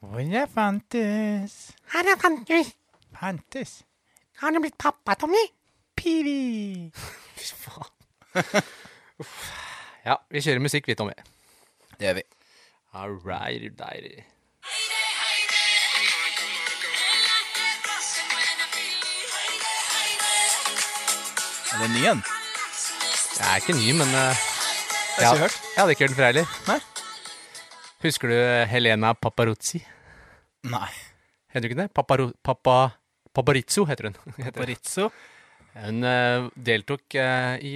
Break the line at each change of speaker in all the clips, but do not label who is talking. Hvor jeg fantes.
Her er Fantus.
Fantes.
Har du blitt pappa, Tommy?
Pivi.
Fy faen. Uff. Ja, vi kjører musikk, vi, Tommy.
Det gjør vi.
All right, deilig.
Er det ny en?
Jeg er ikke ny, men eh,
Jeg har
ja,
ikke hørt.
Jeg hadde ikke hørt den fra heller.
Nei.
Husker du Helena Paparuzzi?
Nei.
Heter hun ikke det? Paparo, papa, paparizzo heter hun. Heter. hun.
Paparizzo.
Hun eh, deltok eh, i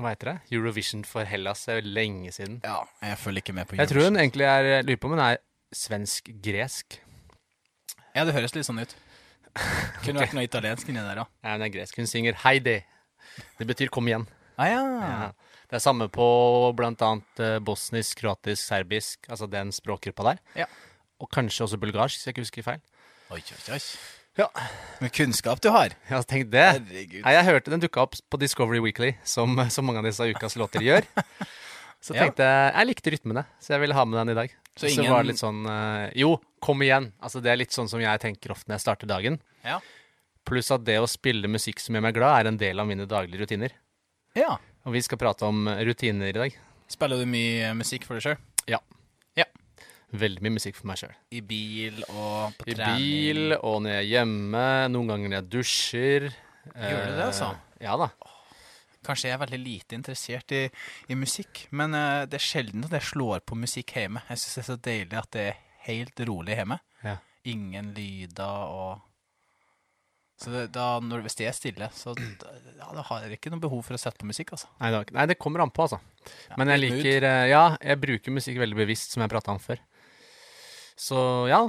hva heter det? Eurovision for Hellas eh, lenge siden.
Ja, jeg følger ikke med på
Jeg tror
Eurovision.
hun egentlig er jeg Lurer på om hun er svensk-gresk.
Ja, det høres litt sånn ut. Kunne vært noe italiensk inni der, da.
Nei, hun er gresk. Hun synger 'Heidi'. Det betyr 'kom igjen'.
Ah, ja.
Ja. Det er samme på blant annet eh, bosnisk, kroatisk, serbisk, altså den språkgruppa der.
Ja.
Og kanskje også bulgarsk, hvis jeg ikke husker feil.
Oi, oi, oi.
Ja,
Med kunnskap du har.
jeg har tenkt det.
Herregud.
Nei, jeg hørte den dukka opp på Discovery Weekly, som så mange av disse ukas låter gjør. Så
Ja.
tenkte jeg Jeg likte rytmene, så jeg ville ha med den i dag.
Så
Så,
ingen-
var det litt sånn eh, Jo, kom igjen. Altså, det er litt sånn som jeg tenker ofte når jeg starter dagen.
Ja.
Pluss at det å spille musikk som gjør meg glad, er en del av mine daglige rutiner.
Ja.
Og vi skal prate om rutiner i dag.
Spiller du mye eh, musikk for deg sjøl?
Veldig mye musikk for meg sjøl.
I bil og på
I
trening?
bil og når jeg er hjemme. Noen ganger når jeg dusjer.
Gjør du det, altså?
Eh, Ja da.
Kanskje jeg er veldig lite interessert i, i musikk, men eh, det er sjelden at jeg slår på musikk hjemme. Jeg syns det er så deilig at det er helt rolig hjemme.
Ja.
Ingen lyder og Så det, da, når, hvis det er stille, så da, ja, da har jeg ikke noe behov for å sette på musikk, altså.
Nei, det var ikke- nei, det kommer an på, altså.
Ja,
Men jeg
litt mood.
liker eh, Ja, jeg bruker musikk veldig bevisst, som jeg prata om før. Så ja.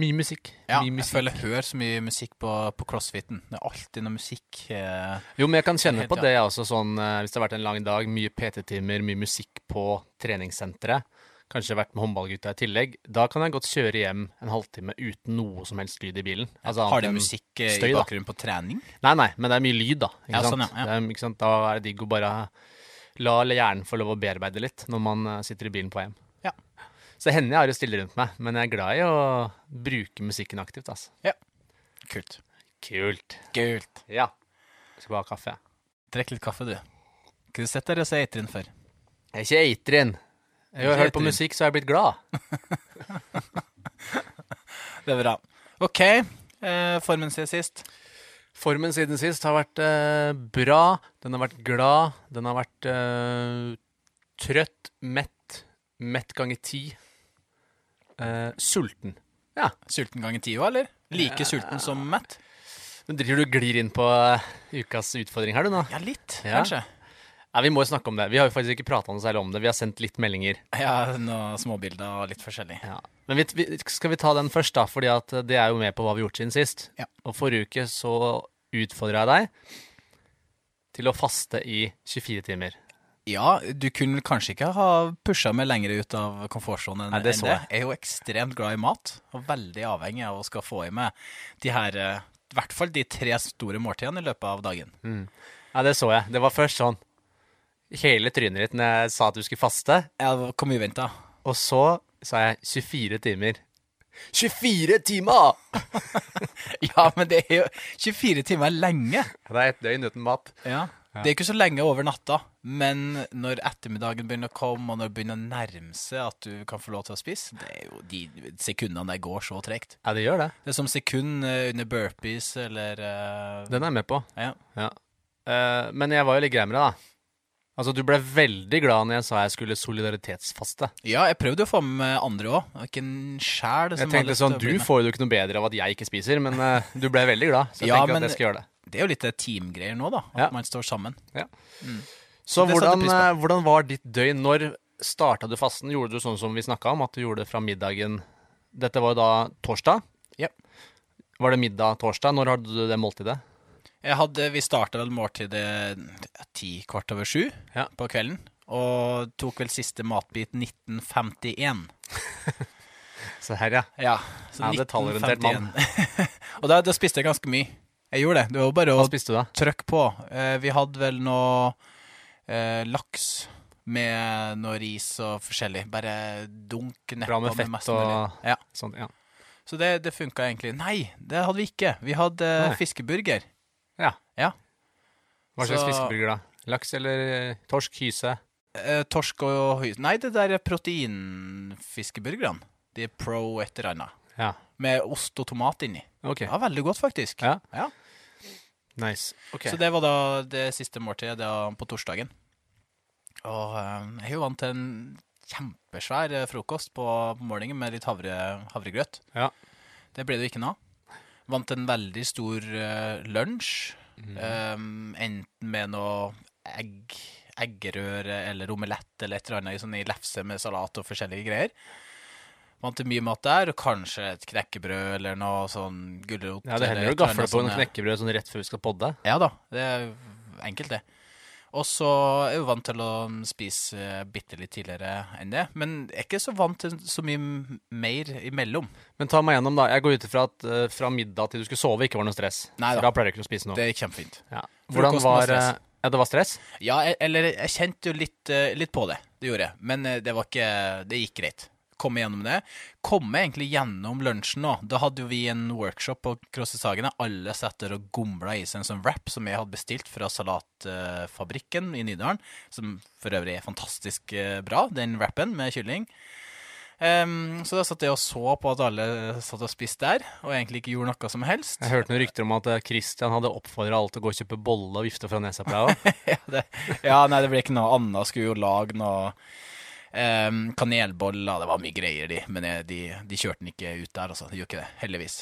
Mye musikk.
Ja,
mye
jeg
musikk.
føler jeg hører så mye musikk på, på crossfiten. Det er alltid noe musikk. eh,
Jo, men jeg kan kjenne
Helt,
på
ja.
det jeg også, sånn eh, hvis det har vært en lang dag, mye PT-timer, mye musikk på treningssenteret. Kanskje vært med håndballgutta i tillegg. Da kan jeg godt kjøre hjem en halvtime uten noe som helst lyd i bilen. Altså, annet
har de
enn-
musikk eh, i
støy, da.
bakgrunnen på trening?
Nei, nei, men det er mye lyd, da. Ikke
Ja,
sant?
sånn, ja, ja.
Det er, ikke sant? Da er det digg å bare la hjernen få lov å bearbeide litt når man eh, sitter i bilen på hjem.
Ja.
Så det hender jeg har det stille rundt meg, men jeg er glad i å bruke musikken aktivt. Altså.
Kult.
Kult.
Kult.
Ja. Jeg skal bare ha kaffe, jeg.
Drikk litt kaffe, du. Kunne sett deg og se Eitrin før.
Jeg er ikke eitrin. Jeg har hørt på
Eitrin.
musikk, så har jeg blitt glad.
Det er bra. OK. eh, formen siden sist.
Formen siden sist har vært eh, bra. Den har vært glad. Den har vært eh, trøtt, mett, mett ganger ti. Eh, sulten.
Sulten ganger ti òg, eller? Like
Ja.
sulten som mett?
Nå driver du og glir inn på eh, ukas utfordring her, du nå.
Ja, litt,
Ja.
kanskje.
Nei, vi må jo snakke om det. Vi har jo faktisk ikke prata noe særlig om det. Vi har sendt litt meldinger.
Ja, noen småbilder og litt forskjellig.
Ja. Men vi, vi, skal vi ta den først, da? Fordi at eh, det er jo med på hva vi har gjort siden sist.
Ja.
Og forrige uke så utfordra jeg deg til å faste i 24 timer.
Ja, du kunne kanskje ikke ha pusha meg lenger ut av komfortsonen
Nei, det
enn
så
det. Jeg er jo ekstremt glad i mat, og veldig avhengig av å skal få i meg de her eh, I hvert fall de tre store måltidene i løpet av dagen.
Nei, det så jeg. Det var først sånn Hele trynet ditt når jeg sa at du skulle faste.
Ja, Hvor mye venta?
Og så sa jeg 24 timer. 24 timer!
Ja, men det er jo 24 timer er lenge.
Det er et døgn uten mat.
Ja. Det er ikke så lenge over natta, men når ettermiddagen begynner å komme, og når det begynner å nærme seg at du kan få lov til å spise, det er jo de sekundene der går så tregt.
Ja, det gjør det.
Det er som sekund eh, under burpees eller eh,
Den er jeg med på.
ja.
Eh, men jeg var jo litt grei med det, da. Altså, du ble veldig glad når jeg sa jeg skulle solidaritetsfaste.
ja, jeg prøvde å få med meg andre òg. Ikke en sjæl som
Jeg
hadde lyst
tenkte
til
sånn,
å
Du
bli med.
får jo ikke noe bedre av at jeg ikke spiser, men eh, du ble veldig glad. Så jeg
Ja,
tenker
men-
at jeg skal gjøre det.
Det er jo litt teamgreier nå, da. At
Ja.
man står sammen.
Så
det satte
hvordan,
pris på.
eh, hvordan var ditt døgn? Når starta du fasten? Gjorde du sånn som vi snakka om, at du gjorde det fra middagen Dette var jo da torsdag.
Ja.
Var det middag torsdag? Når hadde du det måltidet?
Jeg hadde, vi starta vel måltidet ti kvart over sju
Ja.
på kvelden. Og tok vel siste matbit 1951.
Se her, ja.
Ja, så
Ja, detaljorientert
1951. og da, da spiste jeg ganske mye. Jeg gjorde det. Det var bare å
Hva spiste du da?
trykke på. Eh, vi hadde vel noe eh, laks med noe ris og forskjellig. Bare dunk
Bra
nedpå
med fett
mest mulig.
og-
Ja.
Sånn, ja.
Så det, det funka egentlig. Nei, det hadde vi ikke. Vi hadde eh,
Nei.
fiskeburger.
Ja.
Ja.
Hva slags
Så-
fiskeburger, da? Laks eller eh, torsk, hyse?
Eh, torsk og høy... Nei, det der er proteinfiskeburgerne. De er pro et eller annet.
Ja.
Med ost og tomat inni.
OK.
Det var veldig godt, faktisk.
Ja. Nice. Ok.
Så det var da det siste måltidet da, på torsdagen. Og eh, jeg er jo vant til en kjempesvær eh, frokost på, på morgenen med litt havre, havregrøt.
Ja.
Det ble det jo ikke noe av. Vant en veldig stor eh, lunsj.
Mhm.
eh, enten med noe egg, eggerøre eller omelett eller et eller annet i sånn i lefse med salat og forskjellige greier. Vant til mye mat der, og kanskje et knekkebrød eller noe sånn gulrot.
Ja, det
eller
hender
et
jo gafle
eller annet eh,
på noen
sånne-
knekkebrød sånn rett før vi skal podde.
ja da, det er enkelt det. Og så er jeg jo vant til å um, spise eh, bitte litt tidligere enn det. Men jeg er ikke så vant til så mye m- mer imellom.
Men ta meg gjennom, da. Jeg går ut ifra at eh, fra middag til du skulle sove, ikke var noe stress.
Nei
For
da.
da pleier du ikke å spise noe.
Det gikk kjempefint.
Ja. Hvordan
Frokosten var
var
stress.
eh, Ja, det var stress?
Ja, jeg, eller jeg kjente jo litt, eh, litt på det. Det gjorde jeg. Men eh, det var ikke Det gikk greit. Komme gjennom det. Komme egentlig gjennom lunsjen nå. Da hadde jo vi en workshop på Krossesagene. Alle satt der og gomla i seg en sånn wrap som jeg hadde bestilt fra Salatfabrikken i Nydalen. Som for øvrig er fantastisk eh, bra, den wrappen med kylling. Em, så da satt jeg og så på at alle satt og spiste der, og egentlig ikke gjorde noe som helst.
Jeg hørte noen rykter om at eh, Christian hadde oppfordra alle til å gå og kjøpe bolle og vifte fra nesa på deg òg.
ja, det, ja, nei, det ble ikke noe annet. Skulle jo lage noe um, kanelboller. Det var mye greier, de. Men jeg, de, de kjørte den ikke ut der, altså. De gjorde ikke det, heldigvis.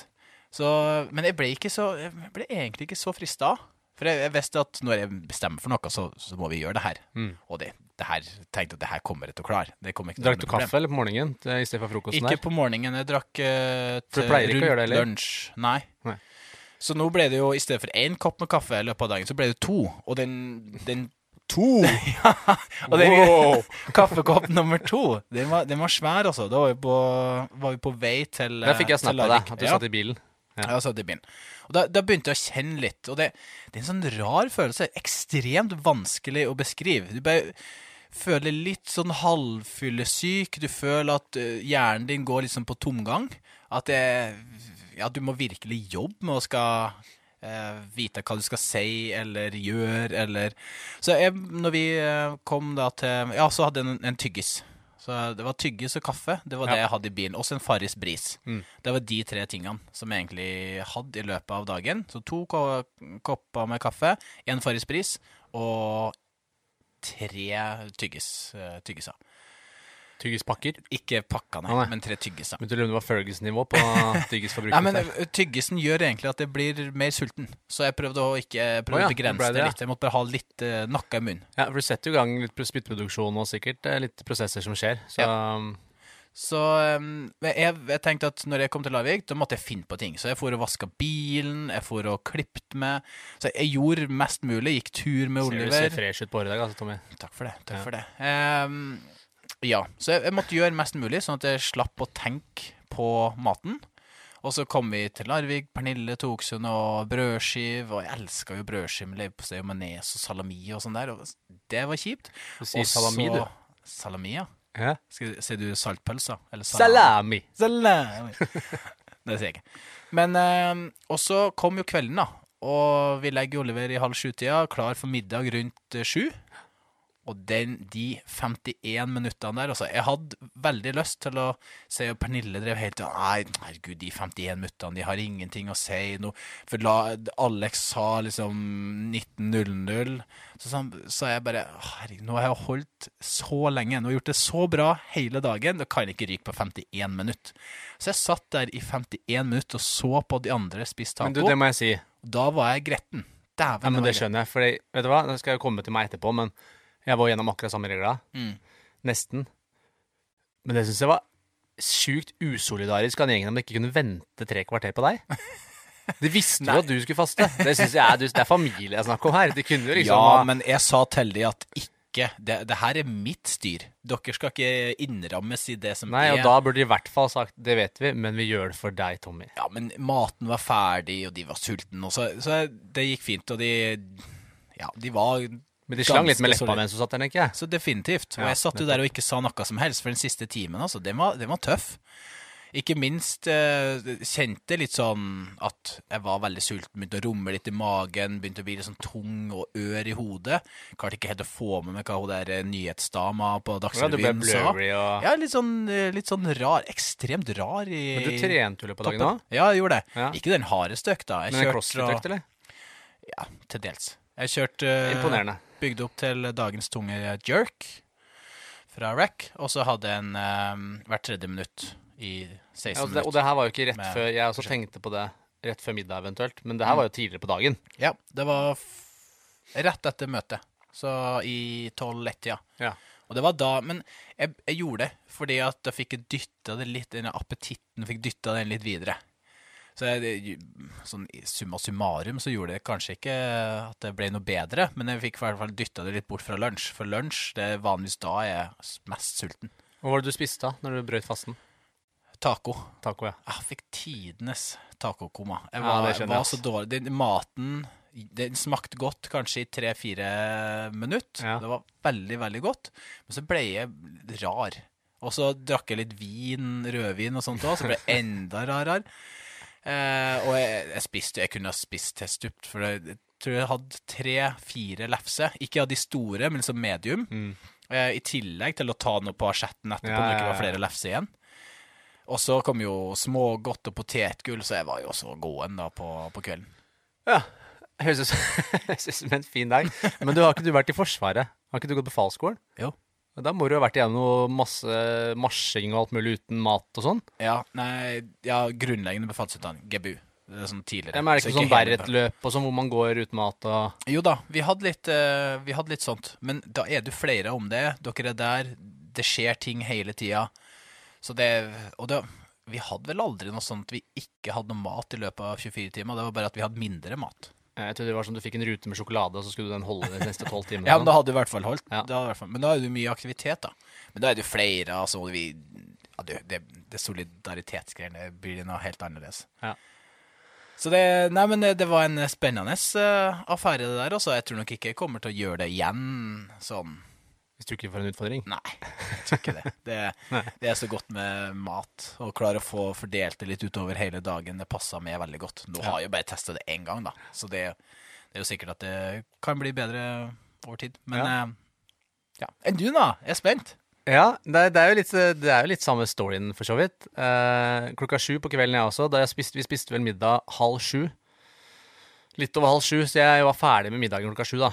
Så, men jeg ble, ikke så, jeg ble egentlig ikke så frista. For jeg, jeg visste at når jeg bestemmer for noe, så, så må vi gjøre det her.
Mm.
Og det, det her tenkte jeg at det her kommer jeg til å klare. Det kommer ikke til å
Drakk
være
du
noe problem.
kaffe eller på morgenen til- i stedet for frokosten
Ikke
der?
på morgenen. Jeg drakk eh,
For du
til
pleier ikke å
rundt
gjøre det, eller?
lunsj. Nei.
Nei.
Så nå ble det jo, i stedet for én kopp med kaffe i løpet av dagen, så ble det to. Og den, den To?! ja, og den
Wow!
kaffekopp nummer to, den var, den var svær, altså. Da var vi på, var vi på vei til
Der fikk jeg snap av deg, at du
ja.
satt i bilen.
Ja, jeg satt i bilen. Og da, da begynte jeg å kjenne litt, og det, det er en sånn rar følelse. Ekstremt vanskelig å beskrive. Du bare føler litt sånn halvfyllesyk. Du føler at eh, hjernen din går liksom på tomgang. At det, ja, du må virkelig jobbe med å skal eh, vite hva du skal si eller gjøre, eller Så jeg, når vi eh, kom da til Ja, så hadde jeg en, en tyggis. Så det var tyggis og kaffe. Det var
Ja.
det jeg hadde i bilen. Også en Farris Bris.
Mm.
Det var de tre tingene som jeg egentlig hadde i løpet av dagen. Så to ko kopper med kaffe, én Farris Bris og tre tyggis, eh, tyggiser.
Tyggispakker.
Ikke pakka, nei,
Å, nei.
men tre tyggiser.
Begynte å lure om det var Ferguson-nivå på
Nei, men
tyggisforbruket.
eh, Tyggisen gjør egentlig at jeg blir mer sulten, så jeg prøvde å ikke jeg
Å,
prøvde
ja,
å begrense
ble det,
det
ja.
litt. Jeg måtte bare ha litt uh, nakka i munnen.
Ja, for du setter jo i gang litt spyttproduksjon og sikkert eh, litt prosesser som skjer. Så um,
Så um, jeg, jeg tenkte at når jeg kom til Lavik, da måtte jeg finne på ting. Så jeg for og vaska bilen, jeg for og klippte meg. Så jeg gjorde mest mulig. Gikk tur med
ser du ser
Oliver.
fresh ut på håret i dag, altså, Tommy.
Takk for det. takk
Ja.
for det. Ehm, ja, så jeg, jeg måtte gjøre mest mulig, sånn at jeg slapp å tenke på maten. Og så kom vi til Larvik. Pernille tok seg noe brødskive, og jeg elska jo brødskive med leverpostei og majones og salami og sånn der. Og det var kjipt.
Du sier
Og
salami,
så-
du.
Salami, ja.
Hæ?
Skal, ser du saltpølser? Eller
Salami.
Salami. Det sier jeg ikke. Men eh, Og så kom jo kvelden, da. Og vi legger Oliver i halv sju-tida, klar for middag rundt eh, sju. Og den, de 51 minuttene der, altså Jeg hadde veldig lyst til å si og Pernille drev helt til Nei, herregud, de 51 minuttene, de har ingenting å si nå. For la, Alex sa liksom 19.00. Så sa han- sa jeg bare «Å, Herregud, nå har jeg holdt så lenge. Nå har jeg gjort det så bra hele dagen. Da kan jeg ikke ryke på 51 minutter. Så jeg satt der i 51 minutter og så på de andre spise
Men du,
taco.
det må jeg si.
Da var jeg gretten. Dæven.
Ja,
jeg var
men Det
gretten.
skjønner jeg. For vet du hva, det skal jo komme til meg etterpå, men jeg var gjennom akkurat samme regla.
Mm.
Nesten. Men det syns jeg var sjukt usolidarisk av den gjengen om de ikke kunne vente tre kvarter på deg. De visste jo at du skulle faste. Det synes jeg er, det er familie jeg snakker om her. De kunne jo liksom
Ja,
ha-
men jeg sa til de at ikke det, det her er mitt styr. Dere skal ikke innrammes i det som
Nei,
er
og da burde de i hvert fall sagt det vet vi, men vi gjør det for deg, Tommy.
Ja, men maten var ferdig, og de var sultne, og så, så det gikk fint, og de Ja, de var
Men de slang litt med
Ganske
leppa
solid.
mens du satt der, tenker jeg.
Så definitivt. Og
Ja,
jeg satt jo der og ikke sa noe som helst, for den siste timen, altså, den var, den var tøff. Ikke minst eh, kjente litt sånn at jeg var veldig sulten, begynte å rumle litt i magen, begynte å bli litt sånn tung og ør i hodet. Klarte ikke helt å få med meg hva hun der eh, nyhetsdama på
Ja, du ble
Dagsrevyen sa.
blurry og
Ja, litt sånn, eh, litt sånn rar. Ekstremt rar i
Men du trente jo i løpet av dagen
toppen.
òg?
Ja, jeg gjorde det.
Ja.
Ikke den hardeste økta. Jeg
Men en
kjørte fra-
crossfit-økt, eller?
Ja, til dels. Jeg kjørte eh,
Imponerende.
bygde opp til dagens tunge jerk fra rack, og så hadde en eh, hvert tredje minutt i 16
Ja, og, det, og
minutter.
det her var jo ikke rett
Med-
før Jeg også tenkte på det rett før middag eventuelt, men det her var jo tidligere på dagen.
Ja, det var f rett etter møtet, så i 12-1-tida.
Ja.
Og det var da, men jeg, jeg gjorde det fordi at da fikk jeg dytta det litt, den appetitten fikk dytta den litt videre. Så jeg, sånn i summa summarum så gjorde det kanskje ikke at det ble noe bedre, men jeg fikk i hvert fall dytta det litt bort fra lunsj, for lunsj det er vanligvis da jeg er mest sulten.
Og hva var det du spiste da når du brøt fasten?
Taco.
Taco, ja.
Jeg fikk tidenes tacokoma. Jeg
Ja,
var,
det skjønner jeg,
var
ass.
så dårlig. Den maten den smakte godt kanskje i tre-fire minutter.
Ja.
Det var veldig, veldig godt. Men så ble jeg rar. Og så drakk jeg litt vin, rødvin og sånt òg, så ble jeg enda rarere. Eh, og jeg, jeg spiste Jeg kunne ha spist til jeg stupte, for jeg tror jeg hadde tre-fire lefser. Ikke av de store, men liksom medium. Eh, I tillegg til å ta noe på asjetten etterpå
Mm. Ja,
når det
ja,
ikke
ja.
var flere lefser igjen. Og så kom jo smågodt og potetgull, så jeg var jo også gåen da på, på kvelden.
ja. Høres ut som- høres ut som en fin dag. Men du har ikke du vært i Forsvaret? Har ikke du gått befalsskolen?
Jo.
Da må du jo ha vært igjennom noe masse marsjing og alt mulig uten mat og sånn.
Ja, nei, ja, grunnleggende befalsutdanning. GBU. Det er sånn tidligere.
Ja, men er det
så
ikke sånn
hele befal-
Berit-løp og sånn hvor man går uten mat og
Jo da, vi hadde, litt, eh, vi hadde litt sånt. Men da er du flere om det. Dere er der. Det skjer ting hele tida. Så det Og da Vi hadde vel aldri noe sånt vi ikke hadde noe mat i løpet av 24 timer. Det var bare at vi hadde mindre mat.
Jeg trodde det var sånn du fikk en rute med sjokolade, og så skulle du den holde de neste tolv timene.
Ja, men da hadde du i hvert fall holdt.
Ja.
Da hadde du i hvert fall, men da er det jo mye aktivitet, da. Men da er det jo flere, altså og vi, ja, det, det, det solidaritetsgreiene blir noe helt annerledes.
Ja.
Så det, nei, men det, det var en spennende eh, affære, det der. Også. Jeg tror nok ikke jeg kommer til å gjøre det igjen sånn.
Hvis du ikke får en utfordring.
Nei, jeg tror ikke det. Det, det er så godt med mat. Å klare å få fordelt det litt utover hele dagen, det passer meg veldig godt. Nå har jeg jo bare testa det én gang, da, så det, det er jo sikkert at det kan bli bedre over tid. Men ja.
Ja.
ja. Enn du, da? Jeg er spent.
Ja, det, er- det, er jo litt, det er jo litt samme storyen, for så vidt. Eh, klokka sju på kvelden, jeg også. Da jeg spiste, vi spiste vel middag halv sju. Litt over halv sju, så jeg var ferdig med middagen klokka sju, da.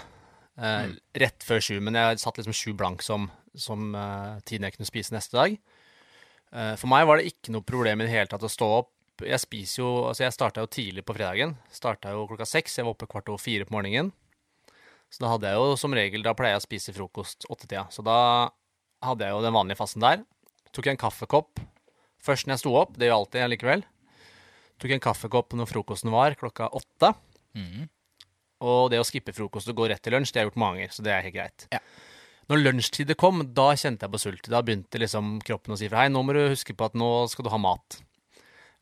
Eh, Rett før sju, men jeg satt liksom sju blank som, som eh, tiden jeg kunne spise neste dag. Eh, for meg var det ikke noe problem i det hele tatt å stå opp. Jeg spiser jo, altså jeg starta jo tidlig på fredagen. Starta jo klokka seks. Jeg var oppe kvart over fire på morgenen. Så da hadde jeg jo som regel, da pleier jeg å spise frokost åttetida. Så da hadde jeg jo den vanlige fasten der. Tok jeg en kaffekopp først når jeg sto opp, det gjør jeg alltid likevel. Tok jeg en kaffekopp når frokosten var, klokka åtte. Mhm. Og det å skippe frokost og gå rett til lunsj, det har jeg gjort mange ganger, så det er helt greit.
Ja.
Når lunsjtider kom, da kjente jeg på sult. Da begynte liksom kroppen å si fra hei, nå må du huske på at nå skal du ha mat.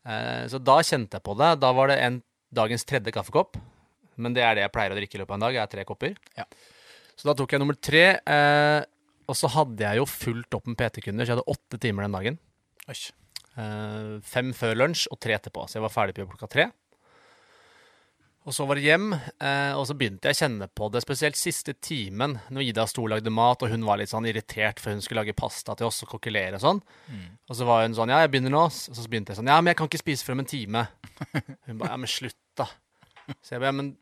Eh, så da kjente jeg på det. Da var det en dagens tredje kaffekopp. Men det er det jeg pleier å drikke i løpet av en dag, er tre kopper.
Ja.
Så da tok jeg nummer tre. Eh, og så hadde jeg jo fullt opp med PT-kunder, så jeg hadde åtte timer den dagen.
Oi.
Eh, fem før lunsj og tre etterpå, så jeg var ferdig på jobb klokka tre. Og så var det hjem, eh, og så begynte jeg å kjenne på det, spesielt siste timen, når Ida sto og lagde mat, og hun var litt sånn irritert for hun skulle lage pasta til oss og kokkelere og sånn.
Mm.
Og så var hun sånn, ja, jeg begynner nå, og så begynte jeg sånn, ja, men jeg kan ikke spise før om en time. Hun ba, ja, men slutt da. Så jeg ba, ja, men,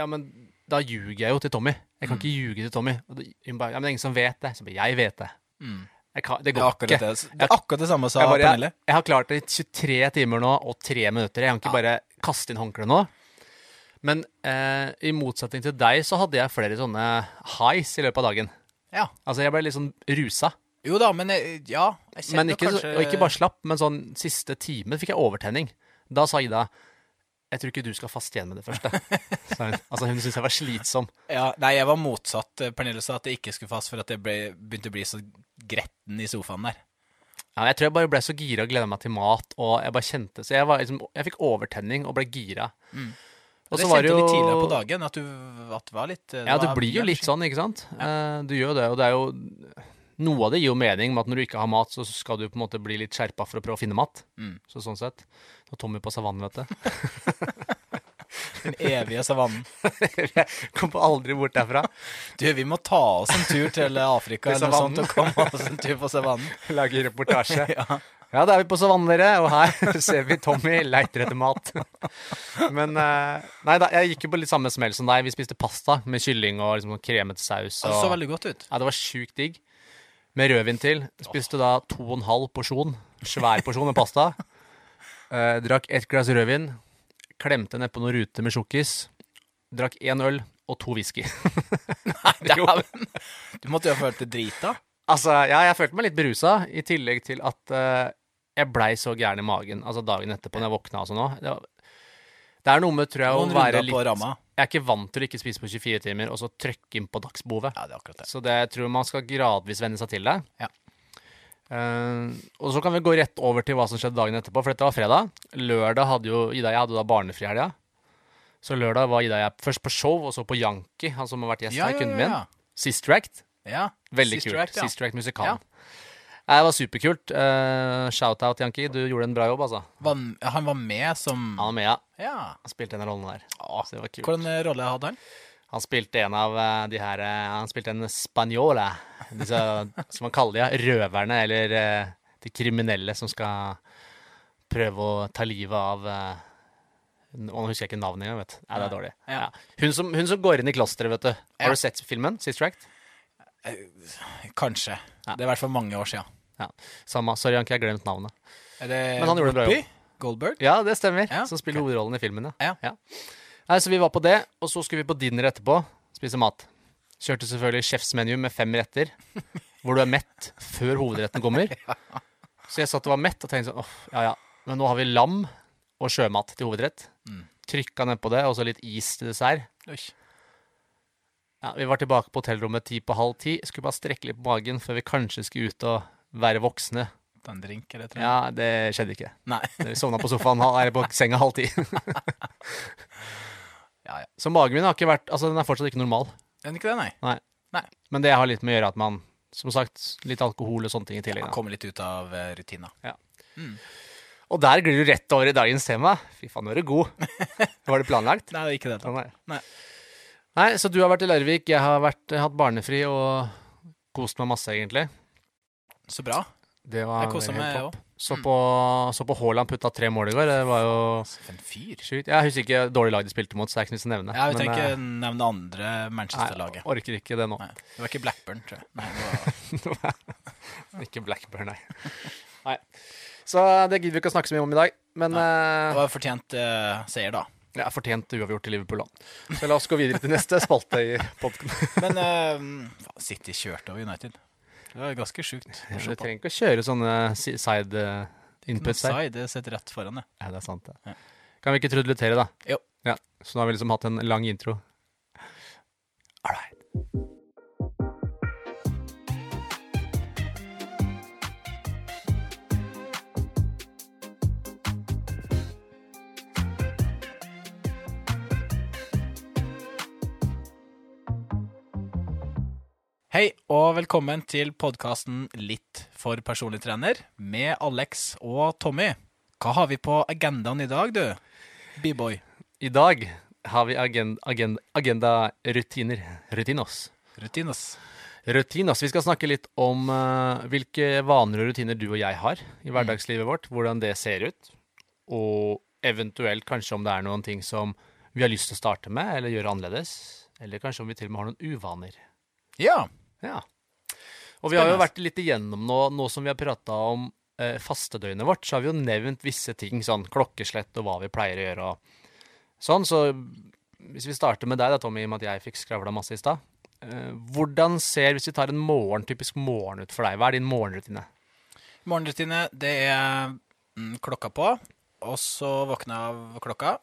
ja, men da ljuger jeg jo til Tommy. Jeg
Mm.
kan ikke ljuge til Tommy. Og da- hun ba, ja, men det er ingen som vet det. Så jeg ba, jeg vet det. Jeg
Mm.
kan, det
Det er
går ikke.
akkurat det, det, er akkurat det samme sa
Jeg, bare, jeg,
Pernille.
jeg har klart det i 23 timer nå og 3 minutter. Jeg kan ikke bare kaste inn håndkleet nå. Men eh, i motsetning til deg så hadde jeg flere sånne highs i løpet av dagen.
Ja.
Altså jeg ble litt sånn rusa.
Jo da, men jeg, ja jeg kjenner
Men ikke, så-
kanskje-
Og ikke bare slapp, men sånn siste time fikk jeg overtenning. Da sa Ida jeg tror ikke du skal faste igjen med det første. sa hun. Altså Hun syntes jeg var slitsom.
ja, Nei, jeg var motsatt. Pernille sa at jeg ikke skulle fast for at jeg ble, begynte å bli så gretten i sofaen der.
Ja, jeg tror jeg bare ble så gira og gleda meg til mat, og jeg bare kjente Så jeg, var liksom, jeg fikk overtenning og ble gira. Og
Mm. det
så
kjente
var det
jeg litt
jo
tidligere på dagen, at du at det var litt eh,
Ja, det
var
blir jo
mye
litt
energi.
sånn, ikke sant? Eh, Du gjør jo det, og det er jo Noe av det gir jo mening med at når du ikke har mat, så skal du på en måte bli litt skjerpa for å prøve å finne mat.
Mm.
Så sånn sett. Og Tommy på savannen, vet du. sånn.
Den evige savannen.
Kommer aldri bort derfra.
Du, vi må ta oss en tur til Afrika
Til
eller noe sånt,
savannen.
og komme oss en tur på savannen.
Lager reportasje. ja. da er vi på savannen, dere, og her ser vi Tommy leiter etter mat. Men eh, Nei da, jeg gikk jo på litt samme smell som deg. Vi spiste pasta med kylling og liksom sånn kremet saus.
Det
Og...
så veldig godt ut.
Ja, det var sjukt digg. Med rødvin til. Spiste da to og en halv porsjon. Svær porsjon med pasta. Eh, drakk ett glass rødvin. Klemte nedpå noen ruter med sjokkis. Drakk én øl og to whisky.
Dæven! Du måtte jo ha følt deg drita.
Altså, ja, jeg følte meg litt berusa, i tillegg til at eh, jeg blei så gæren i magen altså dagen etterpå når jeg våkna og sånn òg. Det, var- det er noe med, tror jeg,
Noen
å være
runder på
litt
ramma.
Jeg er ikke vant til å ikke spise på 24 timer, og så trykke inn på dagsbehovet.
Ja, det er akkurat det.
Så det jeg tror man skal gradvis venne seg til det.
Ja.
Eh, og så kan vi gå rett over til hva som skjedde dagen etterpå, for dette var fredag. Lørdag hadde jo Ida og jeg hadde da barnefri helga. Så lørdag var Ida og jeg først på show, og så på Janki, han som har vært gjest
Ja,
her,
ja,
kunden
ja,
min.
ja.
Sister Act.
Ja.
Veldig
Sister
kult.
Act, ja.
Sister Act musikal.
Ja.
Nei, Det var superkult. Eh, Shout-out, Janki. Du gjorde en bra jobb, altså.
Var han- Han var med som
Han og Mea
Ja.
spilte en av rollene der. Så det var kult.
Hvilken rolle hadde han?
Han spilte en av eh, de her eh, Han spilte en spanjole. Disse, som man kaller de, ja, røverne, eller eh, de kriminelle som skal prøve å ta livet av eh, n- Nå husker jeg ikke navnet engang, vet du. Nei, det er dårlig.
Ja.
Ja. Hun, som, hun som går inn i klosteret, vet du.
Ja.
Har du sett filmen? Sist Tract?
Kanskje.
Ja.
Det er i hvert fall mange år siden.
Ja. Samme. Sorry, Anke, jeg har glemt navnet.
Er det
Men han gjorde det bra
Whoopi Goldberg?
Ja, det stemmer.
Ja,
Som spiller hovedrollen i filmen,
Ja.
Nei, så vi var på det, og så skulle vi på dinner etterpå. Spise mat. Kjørte selvfølgelig sjefsmenu med fem retter, hvor du er mett før hovedretten kommer. Så jeg satt og var mett og tenkte sånn åh, ja ja. Men nå har vi lam og sjømat til hovedrett.
Mm.
Trykka nedpå det, og så litt is til dessert.
Oi.
Ja, Vi var tilbake på hotellrommet ti på halv ti. Skulle bare strekke litt på magen før vi kanskje skulle ut og være voksne.
Ta en drink eller et eller annet.
Ja, det skjedde ikke.
Nei.
Vi sovna på sofaen, halv- eller på senga halv ti.
Ja, ja.
Så magen min har ikke vært Altså, den er fortsatt ikke normal.
Er det ikke det, nei?
Men det har litt med å gjøre at man, som sagt, litt alkohol og sånne ting i tillegg.
Han
da.
kommer litt ut av eh, rutina. Mm.
Og der glir du rett over i dagens tema. Fy faen, nå er du god. Var det planlagt?
Nei, det er ikke det.
Ja, Nei.
Nei.
Nei, så du har vært i Larvik, jeg har vært, hatt barnefri og kost meg masse, egentlig.
Så bra.
Ah, Det var
Jeg koser
helt
meg, Mm. jeg
topp.
òg.
Så på, så på Haaland putta tre mål i går. Det var jo
For en fyr.
sjukt. Jeg husker ikke dårlig lag de spilte mot, så det er ikke noe vits i å nevne.
Ja, vi
Men,
trenger
eh,
ikke nevne andre
Nei,
Manchester-laget.
orker ikke det nå.
Nei, Det var ikke Blackburn, tror jeg. Nei, det var...
Ikke Blackburn, nei. nei. Så eh, det gidder vi ikke å snakke så mye om i dag. Men
Det
eh,
var fortjent eh, seier, da.
ja, fortjent uavgjort til Liverpool, da. Så la oss gå videre til neste spalte i podkasten.
Men eh, faen, City kjørte over United. Det var ganske sjukt. å
Du
se på.
trenger ikke å kjøre sånne si- side eh, inputs her.
Sai, det sitter rett foran deg.
Ja, det er sant, det.
Ja.
Kan vi ikke trudelutere, da?
Jo.
Ja, så nå har vi liksom hatt en lang intro. All right.
Hei, og velkommen til podkasten Litt for personlig trener med Alex og Tommy. Hva har vi på agendaen i dag, du? B-boy.
I dag har vi agenda, agenda, agendarutiner. Rutinos.
Rutinas.
Rutinas. Altså, Vi skal snakke litt om eh, hvilke vaner og rutiner du og jeg har i hverdagslivet vårt. Hvordan det ser ut. Og eventuelt kanskje om det er noen ting som vi har lyst til å starte med, eller gjøre annerledes. Eller kanskje om vi til og med har noen uvaner.
Ja.
Ja. Og vi har jo
Spennende.
vært litt igjennom nå, nå som vi har prata om eh, fastedøgnet vårt, så har vi jo nevnt visse ting, sånn klokkeslett og hva vi pleier å gjøre og sånn. Så hvis vi starter med deg da, Tommy, i og med at jeg fikk skravla masse i stad. Eh, hvordan ser, hvis vi tar en morgen, typisk morgen ut for deg, hva er din morgenrutine?
Morgenrutine, det er mm, klokka på, og så våkner jeg av klokka,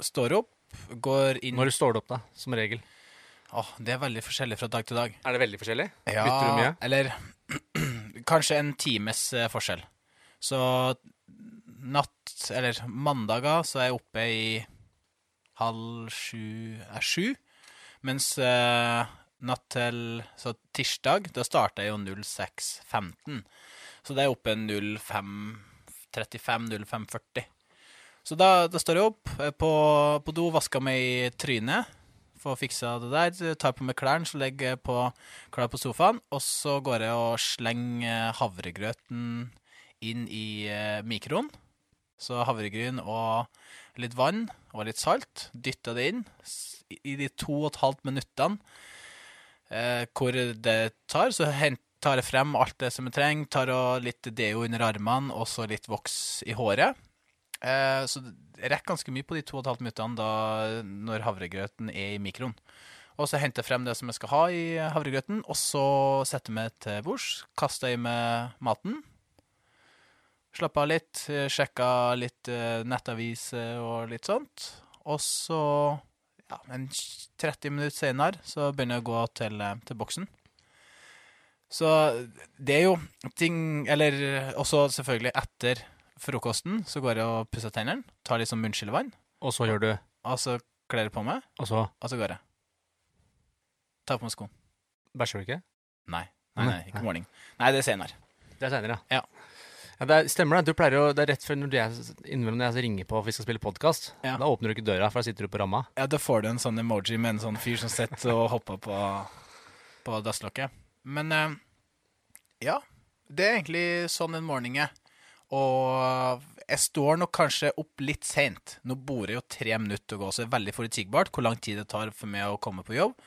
står opp, går inn
Når står du opp, da, som regel?
Åh, Det er veldig forskjellig fra dag til dag.
Er det veldig forskjellig? Bytter du mye?
Eller kanskje en times eh, forskjell. Så natt, eller mandager, så er jeg oppe i halv sju er sju. Mens eh, natt til så tirsdag, da starter jeg jo 06.15. Så det er oppe 05.35-05.40. Så da, da står jeg opp eh, på, på do, vasker meg i trynet, får fiksa det der, tar på meg klærne, så legger jeg på klar på sofaen, og så går jeg og slenger eh, havregrøten inn i eh, mikroen. Så havregryn og litt vann og litt salt. Dytta det inn s- i de to og et halvt minuttene eh, hvor det tar. Så hent, tar jeg frem alt det som jeg trenger. Tar og litt deo under armene og så litt voks i håret. Eh, så jeg rekker ganske mye på de to og et halvt minuttene da, når havregrøten er i mikroen. Og så henter jeg frem det som jeg skal ha i havregrøten, og så setter jeg meg til bords. Kaster i meg maten. Slapp av litt, eh, sjekka litt eh, nettaviser og litt sånt. Og så, ja, en 30 minutter senere, så begynner jeg å gå til, eh, til boksen. Så det er jo ting Eller også selvfølgelig etter frokosten så går jeg og pusser tennene. Tar litt sånn munnskyllevann,
Og så gjør du
og så kler jeg på meg,
Og så
og så går jeg. Tar på meg skoene.
bæsjer du ikke?
Nei, nei, nei, ikke morning. Nei, det er senere.
Det er seinere,
Ja.
ja det er, stemmer det. Du pleier jo, det er rett før når jeg, innimellom når jeg ringer på og vi skal spille podkast.
Ja.
Da åpner du ikke døra, for da sitter du på ramma.
Ja, da får du en sånn emoji med en sånn fyr som sitter og hopper på, på dasslokket. Men eh, ja, det er egentlig sånn en morgen er. Og jeg står nok kanskje opp litt seint. Nå bor jeg jo tre minutter å gå, så det er veldig forutsigbart hvor lang tid det tar for meg å komme på jobb.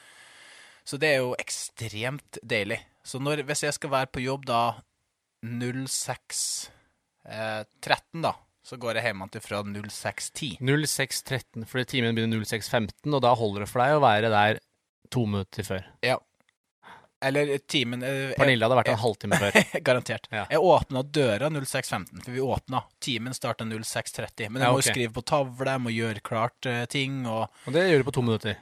Så det er jo ekstremt deilig. Så når, hvis jeg skal være på jobb da 06.13, da, så går jeg hjemmefra fra 06.10.
06.13, fordi timen begynner 06.15, og da holder det for deg å være der to minutter før.
Eller timen eh, jeg-
Pernille hadde vært der en halvtime før.
Garantert.
Ja.
Jeg åpna døra 06.15, for vi åpna. Timen starta 06.30. Men jeg
Ja,
må
ok.
jo skrive på tavle, jeg må gjøre klart eh, ting, og
Og det gjør du på to minutter.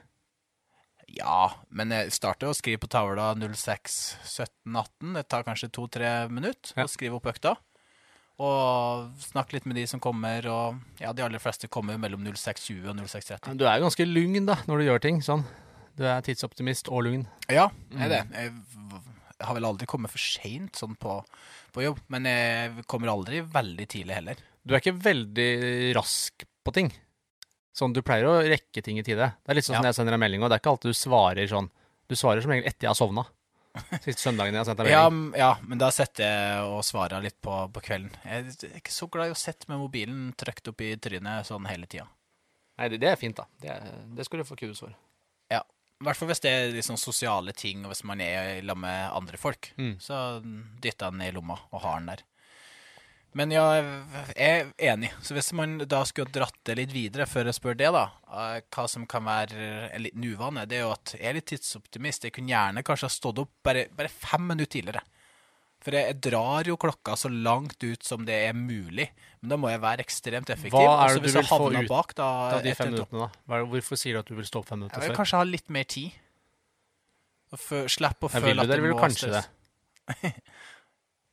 Ja, men jeg starter å skrive på tavla 06.17-18. Det tar kanskje to-tre minutter
Ja.
å skrive opp økta. Og snakke litt med de som kommer, og ja, de aller fleste kommer mellom 06.20 og 06.30.
Men Du er jo ganske lugn da, når du gjør ting sånn. Du er tidsoptimist og lugn.
Ja, jeg er det. Mm. Jeg v- har vel aldri kommet for seint sånn på, på jobb, men jeg kommer aldri veldig tidlig heller.
Du er ikke veldig rask på ting. Sånn, Du pleier å rekke ting i tide. Det er litt sånn
Ja.
som når jeg sender en melding, og det er ikke alltid du svarer sånn. Du svarer som regel etter jeg har sovna. Siste søndagen jeg har sendt deg
Ja,
melding.
m- ja, men da setter jeg og svarer litt på, på kvelden. Jeg er ikke så glad i å sitte med mobilen trykt opp i trynet sånn hele tida.
Nei, det, det er fint, da. Det, er- det skal du få kudos for.
I hvert fall hvis det er litt sånn sosiale ting, og hvis man er i lag med andre folk.
Mm.
Så dytter jeg den i lomma og har den der. Men ja, jeg er enig. Så hvis man da skulle dratt det litt videre før jeg spør det, da, eh, hva som kan være en liten uvane, det er jo at jeg er litt tidsoptimist. Jeg kunne gjerne kanskje ha stått opp bare, bare fem minutter tidligere. For jeg, jeg drar jo klokka så langt ut som det er mulig. Men da må jeg være ekstremt effektiv.
Hva er
Også
det du
hvis jeg
vil få
havner
ut
bak, da,
Ta de
etter
fem
et
minuttene, da. Hva er det- Hvorfor sier du at du vil stå opp fem minutter
jeg vil
før?
kanskje ha litt mer tid. Og fø- Slipp å
Ja,
føle
vil
at
du det, eller
det
vil
må
du kanskje
stress.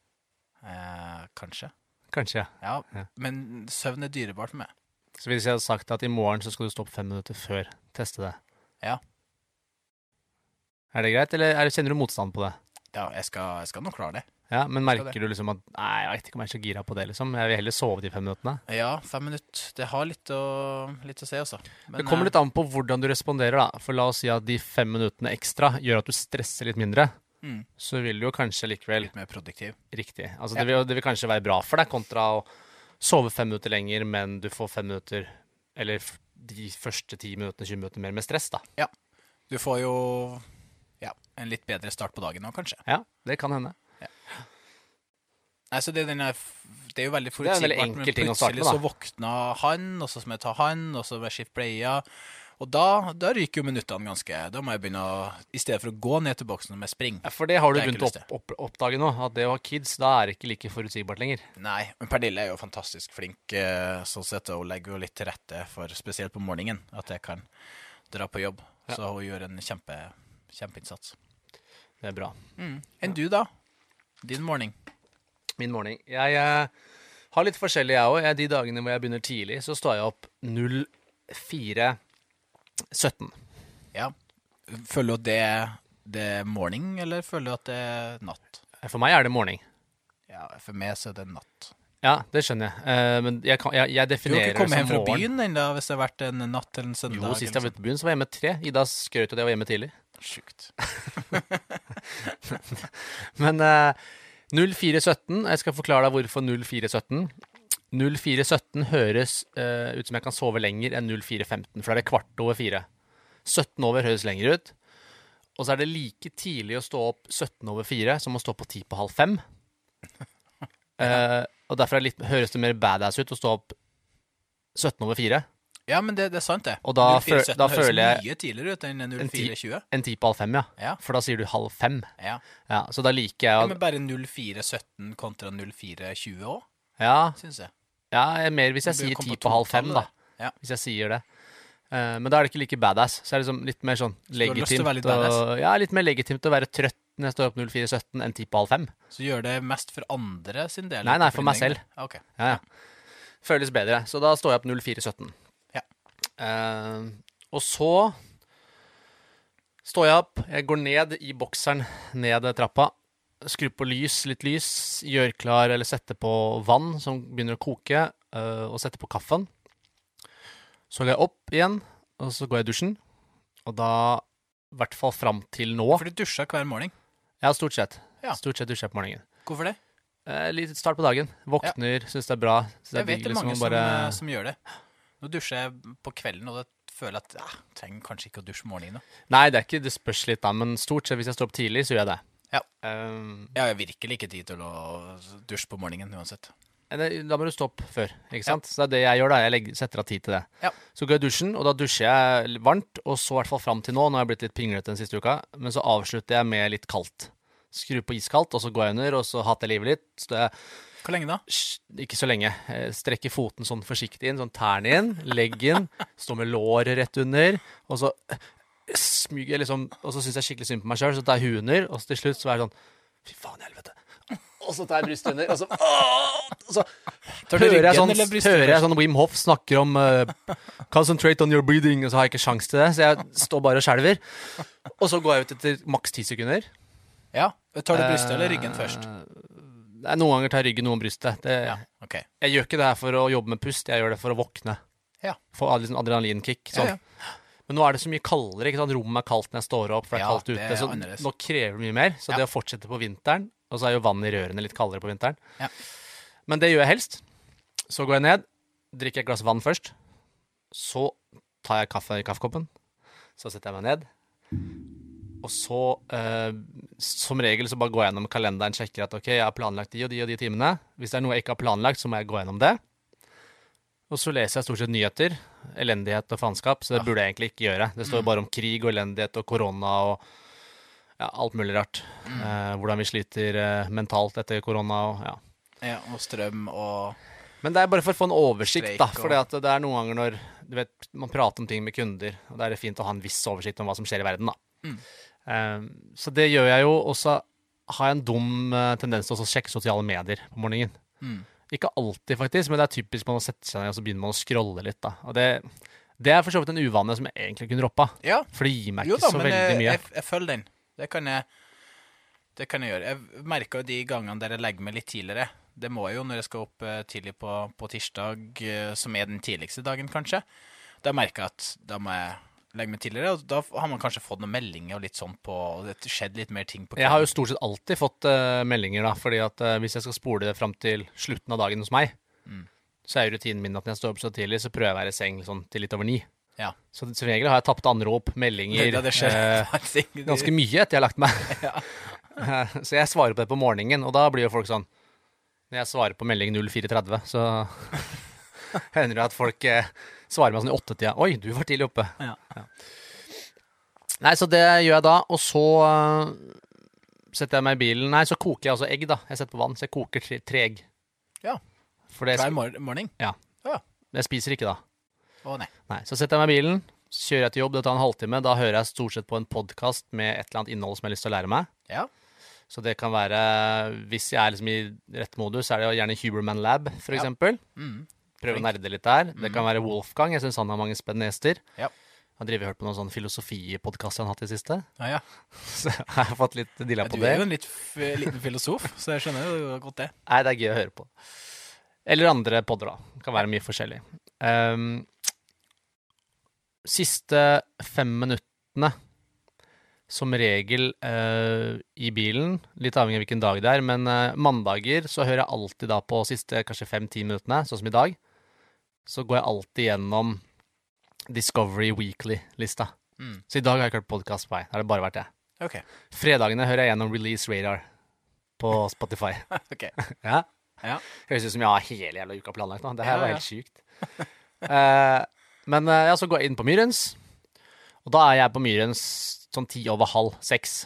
Eh, kanskje.
Kanskje.
Ja.
Ja.
Men søvn er dyrebart for meg.
Så hvis jeg hadde sagt at i morgen så skal du stå opp fem minutter før, teste det.
Ja.
Er det greit, eller er det, kjenner du motstand på det?
Ja, jeg skal, jeg skal nå klare det.
Ja, Men
Skal
merker du liksom at Nei, jeg vet ikke om jeg er så gira på det, liksom. Jeg vil heller sove de fem minuttene.
Ja, fem minutter. Det har litt å, litt å si, altså. Men,
det kommer
eh,
litt an på hvordan du responderer, da. For la oss si at de fem minuttene ekstra gjør at du stresser litt mindre.
Mm.
Så vil du jo kanskje likevel
Litt mer produktiv.
Riktig. Altså,
Ja.
det, vil, det vil kanskje være bra for deg, kontra å sove fem minutter lenger, men du får fem minutter Eller f- de første ti minuttene, 20 minutter mer med stress, da.
Du får jo ja, en litt bedre start på dagen nå, kanskje.
Ja, det kan hende.
Nei, så det, er denne, f- det er jo veldig
er en veldig
forutsigbart, men
enkel ting å
plutselig
starte med,
så våkna han, og så må jeg ta han, og så må jeg skifte bleia. Og da, da ryker jo minuttene ganske. Da må jeg begynne å I stedet for å gå ned til boksen med spring.
Ja, For det har du
Det er
begynt å
ikke lyst
opp, opp, oppdage nå, at det å ha kids, da er det ikke like forutsigbart lenger.
Nei, men Pernille er jo fantastisk flink eh, sånn sett, og hun legger jo litt til rette for spesielt på morgenen at jeg kan dra på jobb.
Ja.
Så hun gjør en kjempe, kjempeinnsats.
Det er bra.
Enn du, da? Din morgen.
Min morgen. Jeg eh, har litt forskjellig, jeg òg. De dagene hvor jeg begynner tidlig, så står jeg opp 04.30. 17.
Føler du at det, det er morning, eller føler du at det er natt?
For meg er det morgen.
Ja, For meg så er det natt.
Ja, det skjønner jeg. Eh, men jeg, kan, jeg, jeg
Du har ikke
definerer det
kommet hjem
som
fra
morgen.
byen ennå hvis det har vært en natt eller en søndag?
Jo, sist jeg
eller
var ute på byen, så var jeg hjemme tre. Ida skrøt av det jeg var hjemme tidlig.
sånt. Sjukt.
Men eh, 0417 Jeg skal forklare deg hvorfor 0417. 0417 høres eh, ut som jeg kan sove lenger enn 0415, for da er det kvart over fire. 17 over høres lenger ut. Og så er det like tidlig å stå opp 17 over fire som å stå på 10 på halv fem. Eh, og derfor er det litt, høres det mer badass ut å stå opp 17 over fire
Ja, men det, det er sant, det.
Og da fø-
0417
da
høres
føler jeg-
mye tidligere ut enn
En ti-
0420.
enn 10 på halv fem, ja.
Ja.
For da sier du halv fem.
Ja.
Ja, så da liker jeg
ja,
å
men bare 0417 kontra 0420 òg,
Ja,
syns jeg.
Ja, mer hvis jeg
Det blir
sier
å komme
ti
på
på halv fem, da.
totallet, ja.
Hvis jeg sier det. Eh, men da er det ikke like badass. Så er det liksom litt mer sånn
du har lyst
legitimt
til å være litt
å- ja, litt mer legitimt å være trøtt når jeg står opp 04.17 enn ti på halv fem.
Så gjør det mest for andre sin del?
Nei, nei,
ikke
for meg
din egen
selv.
del. Ok.
Ja, ja. Føles bedre. Så da står jeg opp 04.17.
Ja.
Eh, og så står jeg opp, jeg går ned i bokseren ned trappa. Skru på lys, litt lys, gjør klar eller sette på vann som begynner å koke, eh, og sette på kaffen. Så går jeg opp igjen, og så går jeg i dusjen. Og da, i hvert fall fram til nå
For du dusjer hver morgen.
Ja, stort sett.
Ja.
Stort sett dusjer jeg på morgenen.
Hvorfor det?
Eh, litt start på dagen. Våkner, synes syns det er bra. Synes det
Jeg
er
vet
digg,
det er
liksom,
mange
å
som,
bare-
eh, som gjør det. Nå dusjer jeg på kvelden, og da føler jeg at ja, jeg trenger kanskje ikke å dusje om morgenen. da.
Nei, det er ikke det spørs litt, da, men stort sett hvis jeg står opp tidlig, så gjør jeg det.
Ja.
Um,
Jeg har virkelig ikke tid til å dusje på morgenen uansett.
eller, da må du stå opp før, ikke sant? Så det er det jeg gjør, da. Jeg legger, setter av tid til det.
Ja.
Så går jeg i dusjen, og da dusjer jeg l- varmt, og så i hvert fall fram til nå, nå har jeg blitt litt pinglete den siste uka, men så avslutter jeg med litt kaldt. Skru på iskaldt, og så går jeg under, og så hater jeg livet litt. Så det er
Hvor lenge da?
Sj, Ikke så lenge. Eh, Strekker foten sånn forsiktig inn, sånn tærne inn, legg inn, stå med låret rett under, og så eh, smyger jeg liksom Og så syns jeg skikkelig synd på meg sjøl, så tar jeg huet under, og så til slutt så er det sånn Fy faen i helvete. Og så tar jeg brystet under, og så, åh, og så
du
hører, jeg
ryggen
sånn,
eller brystet
hører jeg sånn Wim Hoff snakker om eh, 'concentrate on your breathing', og så har jeg ikke sjans til det, så jeg står bare og skjelver. Og så går jeg ut etter maks ti sekunder.
Ja, Tar du brystet eller ryggen først?
Eh, Nei, noen ganger tar jeg ryggen, noen brystet. Det,
Ja, ok.
jeg gjør ikke det her for å jobbe med pust, jeg gjør det for å våkne.
Ja.
Få ad- liksom adrenalinkick.
Ja,
Sånn.
ja.
Men nå er det så mye kaldere. ikke sant? Rommet er kaldt når jeg står opp, for det er
Ja,
kaldt
det
ute.
er
Så
annerledes.
nå krever det mye mer. Så
Ja.
det å fortsette på vinteren Og så er jo vann i rørene litt kaldere på vinteren.
Ja.
Men det gjør jeg helst. Så går jeg ned, drikker et glass vann først. Så tar jeg kaffe i kaffekoppen. Så setter jeg meg ned. Og så, eh, som regel, så bare går jeg gjennom kalenderen, sjekker at ok, jeg har planlagt de og de og de timene. Hvis det er noe jeg ikke har planlagt, så må jeg gå gjennom det. Og så leser jeg stort sett nyheter. Elendighet og faenskap, så det burde jeg egentlig ikke gjøre. Det står jo bare om krig og elendighet og korona og ja, alt mulig rart. Eh, hvordan vi sliter eh, mentalt etter korona og ja.
Ja, og strøm og
Men det er bare for å få en oversikt,
Streik
da.
og-
For det er noen ganger når du vet, man prater om ting med kunder, og da er det fint å ha en viss oversikt om hva som skjer i verden, da.
Mm.
Eh, så det gjør jeg jo. Og så har jeg en dum eh, tendens til også å sjekke sosiale medier på morgenen.
mm.
Ikke alltid, faktisk, men det er typisk man setter seg ned og så begynner man å scrolle litt. da. Og det, det er for så vidt en uvane som jeg egentlig kunne droppa,
Ja,
for det gir meg
jo
ikke
da,
så
men jeg,
veldig mye.
jeg, jeg følger den. Det kan jeg, det kan jeg gjøre. Jeg merker jo de gangene der jeg legger meg litt tidligere. Det må jeg jo når jeg skal opp eh, tidlig på, på tirsdag, eh, som er den tidligste dagen, kanskje. Da merker jeg at da må jeg legge meg tidligere, og da har man kanskje fått noen meldinger og litt sånn på Og det skjedde litt mer ting på
Jeg har jo stort sett alltid fått eh, meldinger, da, fordi at eh, hvis jeg skal spole det fram til slutten av dagen hos meg,
Mm.
så er jo rutinen min at når jeg står opp så tidlig, så prøver jeg å være i seng sånn til litt over ni.
Ja.
Så som regel har jeg tapt anrop, meldinger,
Ja, det
eh,
skjer ting.
ganske mye etter jeg har lagt meg. Eh, så jeg svarer på det på morgenen, og da blir jo folk sånn Når jeg svarer på melding 0430, så hender det at folk eh, svarer meg sånn i åttetida. Oi, du var tidlig oppe.
Ja.
Nei, så det gjør jeg da, og så eh, setter jeg meg i bilen. Nei, så koker jeg altså egg, da. Jeg setter på vann, så jeg koker tre, tre egg.
Ja.
For det,
Hver mor- morgen?
jeg spiser ikke da.
Å nei.
Nei, så setter jeg meg i bilen, så kjører jeg til jobb, det tar en halvtime. Da hører jeg stort sett på en podkast med et eller annet innhold som jeg har lyst til å lære meg.
Ja.
Så det kan være, hvis jeg er liksom i rett modus, så er det jo gjerne Huberman Lab, for
Ja.
eksempel.
Mm.
Prøve å
Flink. Mm.
nerde litt der. Det kan være Wolfgang, jeg syns han har mange spennende gjester.
Ja.
har drevet og hørt på noen sånn filosofipodkast han har hatt i det siste.
Ja, ja.
Så jeg har fått litt dilla
Ja,
på
du
det.
er jo en litt f liten filosof, så jeg skjønner jo godt det.
Nei, det er gøy å høre på. Eller andre podder, da. Det Kan være mye forskjellig. Ehm, siste fem minuttene, som regel eh, i bilen, litt avhengig av hvilken dag det er, men eh, mandager så hører jeg alltid da på siste kanskje fem-ti minuttene, sånn som i dag, så går jeg alltid gjennom Discovery Weekly-lista.
Mm.
Så i dag har jeg ikke hørt podkast på vei. Da har det bare vært det.
Ok.
Fredagene hører jeg gjennom Release Radar på Spotify.
ok.
Ja.
Ja.
Høres ut som jeg har hele jævla uka planlagt nå. Det
Ja,
her var
ja.
helt sjukt. Eh, men eh, ja, så går jeg inn på Myrens, og da er jeg på Myrens sånn ti over halv seks.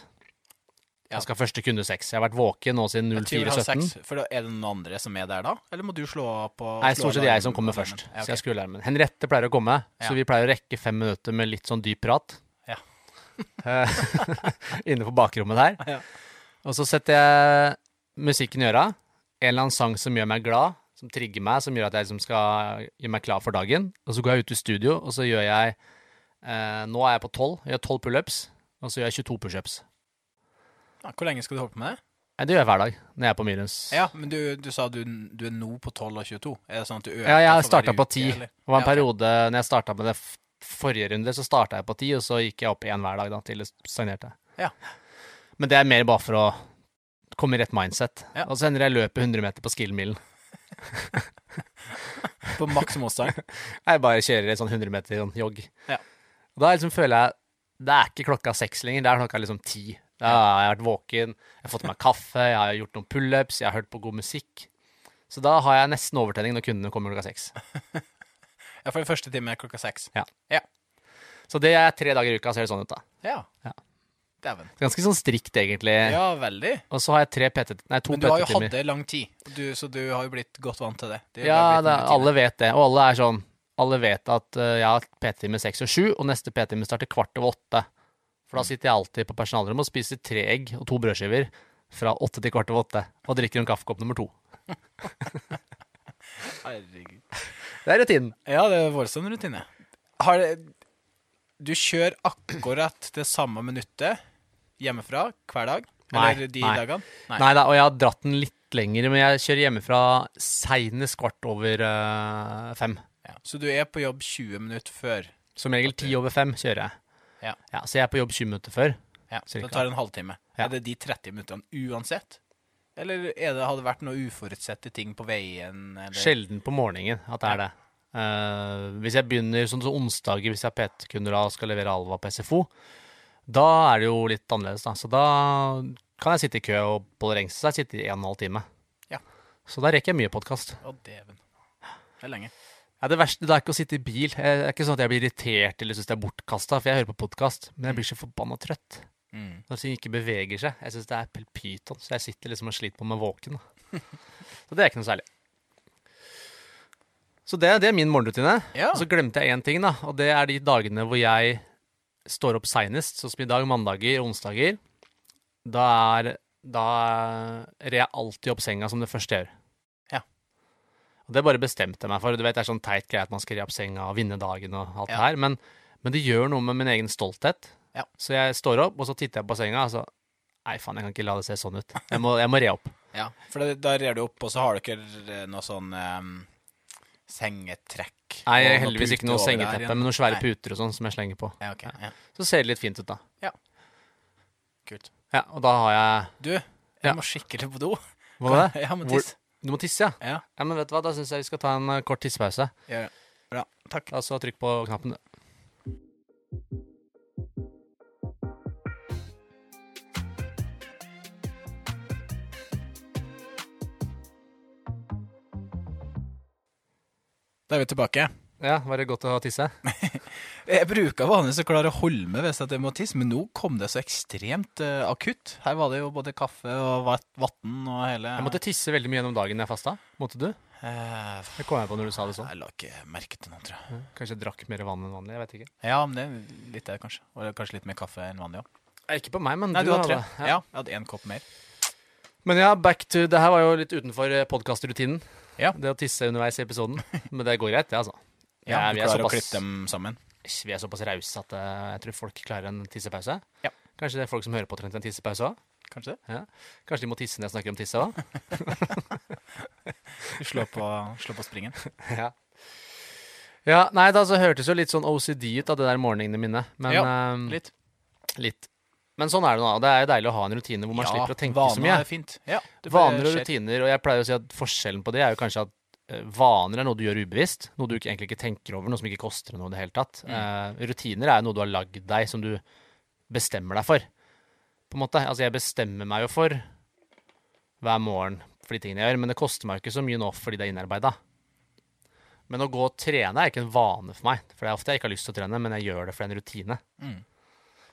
Ja.
Jeg skal ha første kunde seks. Jeg har vært våken nå siden
Jeg tror halv
0417.
seks, For da- Er det noen andre som er der da? Eller må du slå av på
Nei,
slå
stort sett
alarmen?
jeg som kommer først.
Ja, ok.
Så jeg skrur alarmen. Henriette pleier å komme,
Ja.
så vi pleier å rekke fem minutter med litt sånn dyp prat.
Ja.
Eh, Inne på bakrommet der.
Ja.
Og så setter jeg musikken i øra. En eller annen sang som gjør meg glad, som trigger meg, som gjør at jeg liksom skal gjøre meg klar for dagen. Og så går jeg ut i studio, og så gjør jeg eh, Nå er jeg på tolv. Jeg gjør tolv pullups, og så gjør jeg 22 pushups.
Ja, Hvor lenge skal du holde på med det?
Nei, Det gjør jeg hver dag når jeg er på Myrens.
Ja, men du, du sa du, du er nå på 12 og 22. Er det sånn at du øker
Ja, jeg
for hver
starta på
uke,
10.
eller?
Det var en
Ja, ok.
periode når jeg starta med det f- forrige runde, så starta jeg på ti, og så gikk jeg opp én hver dag da, til det stagnerte.
Ja.
Men det er mer bare for å komme i rett mindset.
Ja.
Og så hender det jeg løper 100 meter på skillmilen.
På maks motstand.
Jeg bare kjører et sånn 100 meter sånn jogg.
Ja.
Og Da liksom føler jeg Det er ikke klokka seks lenger, det er klokka liksom ti. Da har jeg vært våken, jeg har fått meg kaffe, jeg har gjort noen pullups, jeg har hørt på god musikk. Så da har jeg nesten overtenning når kundene kommer klokka seks.
Ja, for den første timen er klokka seks.
Så det er tre dager i uka, ser det sånn ut, da.
Ja.
Ja.
Dæven.
Ganske sånn strikt, egentlig.
Ja, veldig.
Og så har jeg tre PT... Nei, to
Men du har jo hatt
PT-timer.
det i lang tid, du, så du har jo blitt godt vant til det. det er jo
Ja,
bare blitt
det,
en rutine.
alle vet det. Og alle er sånn Alle vet at eh, jeg har PT-time seks og sju, og neste PT-time starter kvart over åtte. For da
Mm.
sitter jeg alltid på personalrommet og spiser tre egg og to brødskiver fra åtte til kvart over åtte, og drikker en kaffekopp nummer to.
Herregud.
Det er rutinen.
Ja, det er voldsom rutine. Har det, du kjører akkurat det samme minuttet hjemmefra hver dag?
Nei,
Eller de
nei.
dagene? Nei.
Nei da, og jeg har dratt den litt lenger, men jeg kjører hjemmefra seinest kvart over eh, fem.
Ja. Så du er på jobb 20 minutter før.
Som regel ti over fem kjører jeg.
Ja.
Så jeg er på jobb 20 minutter før.
Ja, så
Cirka.
det tar en halvtime.
Ja.
Er det de 30 minuttene uansett? Eller er det, hadde det vært noe uforutsette ting på veien? Eller?
Sjelden på morgenen at det er det. Eh, hvis jeg begynner sånn som onsdager, hvis jeg har PT-kunder da og skal levere Alva på SFO, da er det jo litt annerledes, da. Så da kan jeg sitte i kø og Pål Rengsen så jeg sitter i en og en halv time.
Ja.
Så da rekker jeg mye podkast.
Å, dæven. Det er lenge.
Ja, det verste det er ikke å sitte i bil. Eh, Det er ikke sånn at jeg blir irritert eller syns det er bortkasta, for jeg hører på podkast, men jeg blir så forbanna trøtt
Mm.
når ting ikke beveger seg. Jeg syns det er pel- pyton, så jeg sitter liksom og sliter på meg våken. Da. Så det er ikke noe særlig. Så det, det er min morgenrutine.
Ja.
Og så glemte jeg én ting, da, og det er de dagene hvor jeg står opp seinest, sånn som i dag, mandager og onsdager. Da er Da rer jeg alltid opp senga som det første jeg gjør.
Ja.
Og det bare bestemte jeg meg for. Du vet, Det er sånn teit greie at man skal re opp senga og vinne dagen og alt det
Ja.
her, men, men det gjør noe med min egen stolthet.
Ja.
Så jeg står opp, og så titter jeg på senga, og så Nei, faen, jeg kan ikke la det se sånn ut. Jeg må, jeg må re opp.
ja. For det, da rer du opp, og så har dere eh, noe sånn ehm, sengetrekk.
Nei,
og noe
heldigvis ikke
pute
noe
over der
sengeteppe,
igjen.
men noen svære
Nei.
puter og sånn som jeg slenger på.
Ja, ok. Ja.
Så ser det litt fint ut, da.
Kult.
Ja, og da har jeg
Du, jeg
Ja.
må skikkelig på do.
Hva var det?
Jeg må
Hvor-
tisse.
Du må tisse, ja?
Ja.
Ja, men vet du hva, Da syns jeg vi skal ta en eh, kort tissepause.
Ja, ja. Bra. Takk.
Altså trykk på knappen, du.
Da er vi tilbake.
Ja, var det godt å tisse?
Jeg bruker vanligvis å klare å holde meg hvis at jeg må tisse, men nå kom det så ekstremt eh, akutt. Her var det jo både kaffe og vann og hele
Jeg måtte tisse veldig mye gjennom dagen jeg fasta. Måtte du?
Eh, f-
Det kom jeg på når du sa det sånn.
Jeg la ikke merke til noe, tror jeg.
Kanskje jeg drakk mer vann enn vanlig. jeg vet Ikke
Ja, men det er litt det, kanskje. Og det er kanskje litt mer kaffe enn vanlig òg.
Nei, ikke på meg, men
Nei, du hadde tre.
Ja.
Ja, jeg hadde én kopp mer.
Men ja, back to Det her var jo litt utenfor eh, podkastrutinen.
Ja.
Det å tisse underveis i episoden. Men det går greit, det, altså.
Ja,
vi
du
er
klarer å
såpass-
klippe dem sammen.
vi er såpass rause at eh, jeg tror folk klarer en tissepause.
Ja.
Kanskje det er folk som hører på trengte en tissepause òg.
Kanskje det?
Kanskje de må tisse når jeg snakker om tisse òg.
Slå på, slå på springen.
ja. ja, nei, det altså, hørtes jo litt sånn OCD ut av det der morgenene mine. Men,
Ja,
eh,
litt.
litt. Men sånn er det nå. da. Det er jo deilig å ha en rutine hvor man slipper å tenke så mye.
Vaner er fint. Ja, det
Vaner og
skjer.
rutiner, og jeg pleier å si at forskjellen på det er jo kanskje at eh, vaner er noe du gjør ubevisst, noe du ikke, egentlig ikke tenker over, noe som ikke koster noe i det hele tatt.
Mm.
Eh, rutiner er noe du har lagd deg, som du bestemmer deg for. På en måte. Altså, jeg bestemmer meg jo for hver morgen for de tingene jeg gjør, men det koster meg jo ikke så mye nå fordi det er innarbeida. Men å gå og trene er ikke en vane for meg, for det er ofte jeg ikke har lyst til å trene, men jeg gjør det for det er en rutine.
Mm.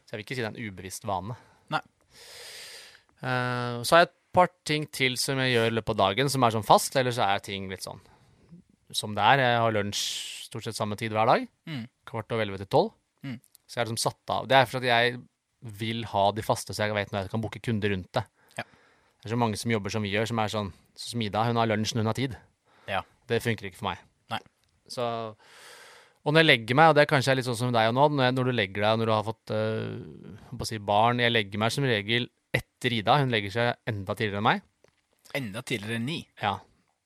Så jeg vil ikke si det er en ubevisst vane.
Nei.
Eh, så har jeg et par ting til som jeg gjør i løpet av dagen, som er sånn fast. Eller så er ting litt sånn som det er. Jeg har lunsj stort sett samme tid hver dag.
Mm.
Kvart over elleve til tolv.
Mm.
Så jeg er liksom satt av. Det er fordi jeg vil ha de faste, så jeg vet når jeg kan booke kunder rundt det.
Ja.
Det er så mange som jobber som vi gjør, som er sånn Sånn som Ida, hun har lunsj når hun har tid.
Ja.
Det funker ikke for meg.
Nei.
Så Og når jeg legger meg, og det er kanskje litt sånn som deg og nå, når, jeg, når du legger deg og når du har fått øh, holdt på å si barn Jeg legger meg som regel etter Ida. Hun legger seg enda tidligere enn meg.
Enda tidligere enn ni.
Ja.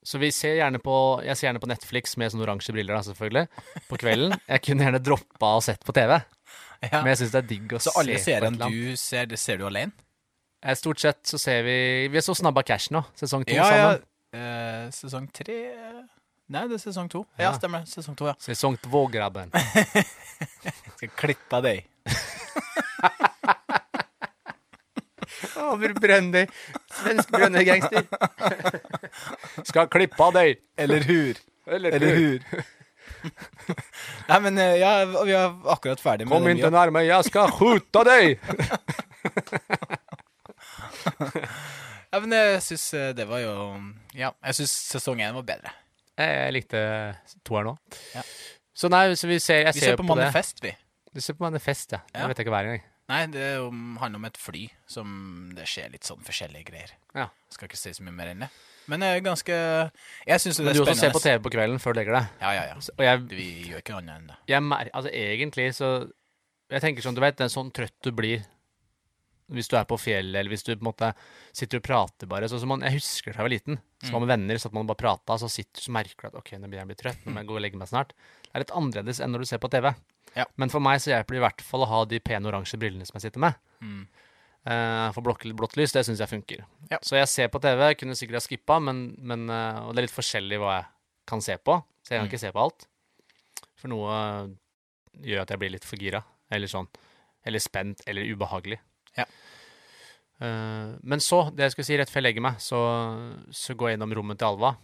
Så vi ser gjerne på, jeg ser gjerne på Netflix med sånne oransje briller, da, selvfølgelig, på kvelden. Jeg kunne gjerne droppa og sett på TV,
Ja.
men jeg syns det er digg å
Så alle
se på et eller
seriene
annet.
du ser, det ser du alene?
Eh, Stort sett så ser vi Vi er så snabba cash nå, sesong to
Ja, ja.
sammen.
Eh, sesong tre Nei, det er sesong to.
Ja.
Ja, stemmer det. Sesong to, ja.
Sesong to, grabben.
Skal klippe deg.
Over Brønnøy. Svensk Brønnøy-gangster. Skal klippe av deg.
Eller hur?
Eller,
Eller hur? Nei, men eh, ja, vi er akkurat ferdig med
Kom
den
ikke
vi-
nærme, jeg skal skjuta deg!
Ja, men jeg syns eh, det var jo Ja, jeg syns sesong én var bedre.
Eh, Jeg likte toeren òg.
Ja.
Så nei, så vi ser, jeg
Vi
ser
ser
jo
på
på, det.
Manifest, vi.
Du ser på Manifest, ja. Det
Ja.
vet jeg ikke hver gang.
Nei, det er jo- handler om et fly som det skjer litt sånn forskjellige greier.
Ja.
Skal ikke si så mye mer enn det. Men det er ganske Jeg syns jo det
Men
er
du også ser på
spennende.
TV på kvelden før du legger deg.
Ja, ja, ja.
Og jeg,
Vi gjør ikke annet enn det.
jeg mer, altså egentlig så Jeg tenker sånn, du vet, det er sånn trøtt du blir hvis du er på fjellet, eller hvis du på en måte sitter og prater bare. Sånn som man, jeg husker da jeg var liten,
Mm.
så var man venner, satt man og bare prata, så sitter så merker du at OK, nå begynner jeg å bli trøtt, nå må jeg gå og legge meg snart. Det er litt annerledes enn når du ser på TV.
Ja.
Men for meg så hjelper det i hvert fall å ha de pene oransje brillene som jeg sitter med.
Mm.
Eh, for blått, blått lys, det syns jeg funker.
Ja.
Så jeg ser på TV, jeg kunne sikkert ha skippa, men, men eh, Og det er litt forskjellig hva jeg kan se på, så jeg kan
Mm.
ikke se på alt. For noe gjør at jeg blir litt for gira, eller sånn. Eller spent, eller ubehagelig.
Ja.
Eh, men så, det jeg skulle si rett før jeg legger meg, så, så går jeg innom rommet til Alva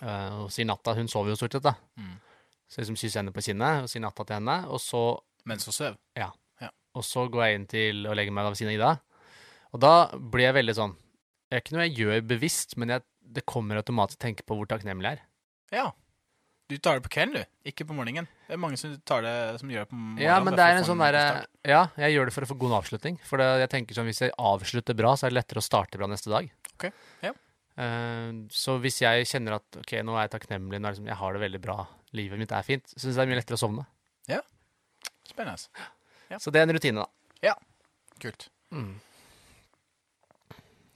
eh, og sier natta. Hun sover jo stort sett, da.
Mm.
Så jeg liksom kysser henne på kinnet og sier natta til henne. Og så
Mens hun sover.
og så går jeg inn til å legge meg ved siden av Ida. Og da blir jeg veldig sånn Det er ikke noe jeg gjør bevisst, men jeg, det kommer automatisk å tenke på hvor takknemlig jeg er.
Ja. Du tar det på kvelden, du. Ikke på morgenen. Det er mange som, tar det, som gjør det på morgenen.
Ja, men det
bare
er en
for å få
sånn
god
derre
start.
Ja, jeg gjør det for å få god avslutning. For det, jeg tenker sånn, hvis jeg avslutter bra, så er det lettere å starte bra neste dag.
Ok, ja.
Eh, så hvis jeg kjenner at ok, nå er jeg takknemlig, nå er det liksom, jeg har det veldig bra, livet mitt er fint, syns jeg det er mye lettere å sovne.
Spennende.
Så det er en rutine, da.
Kult.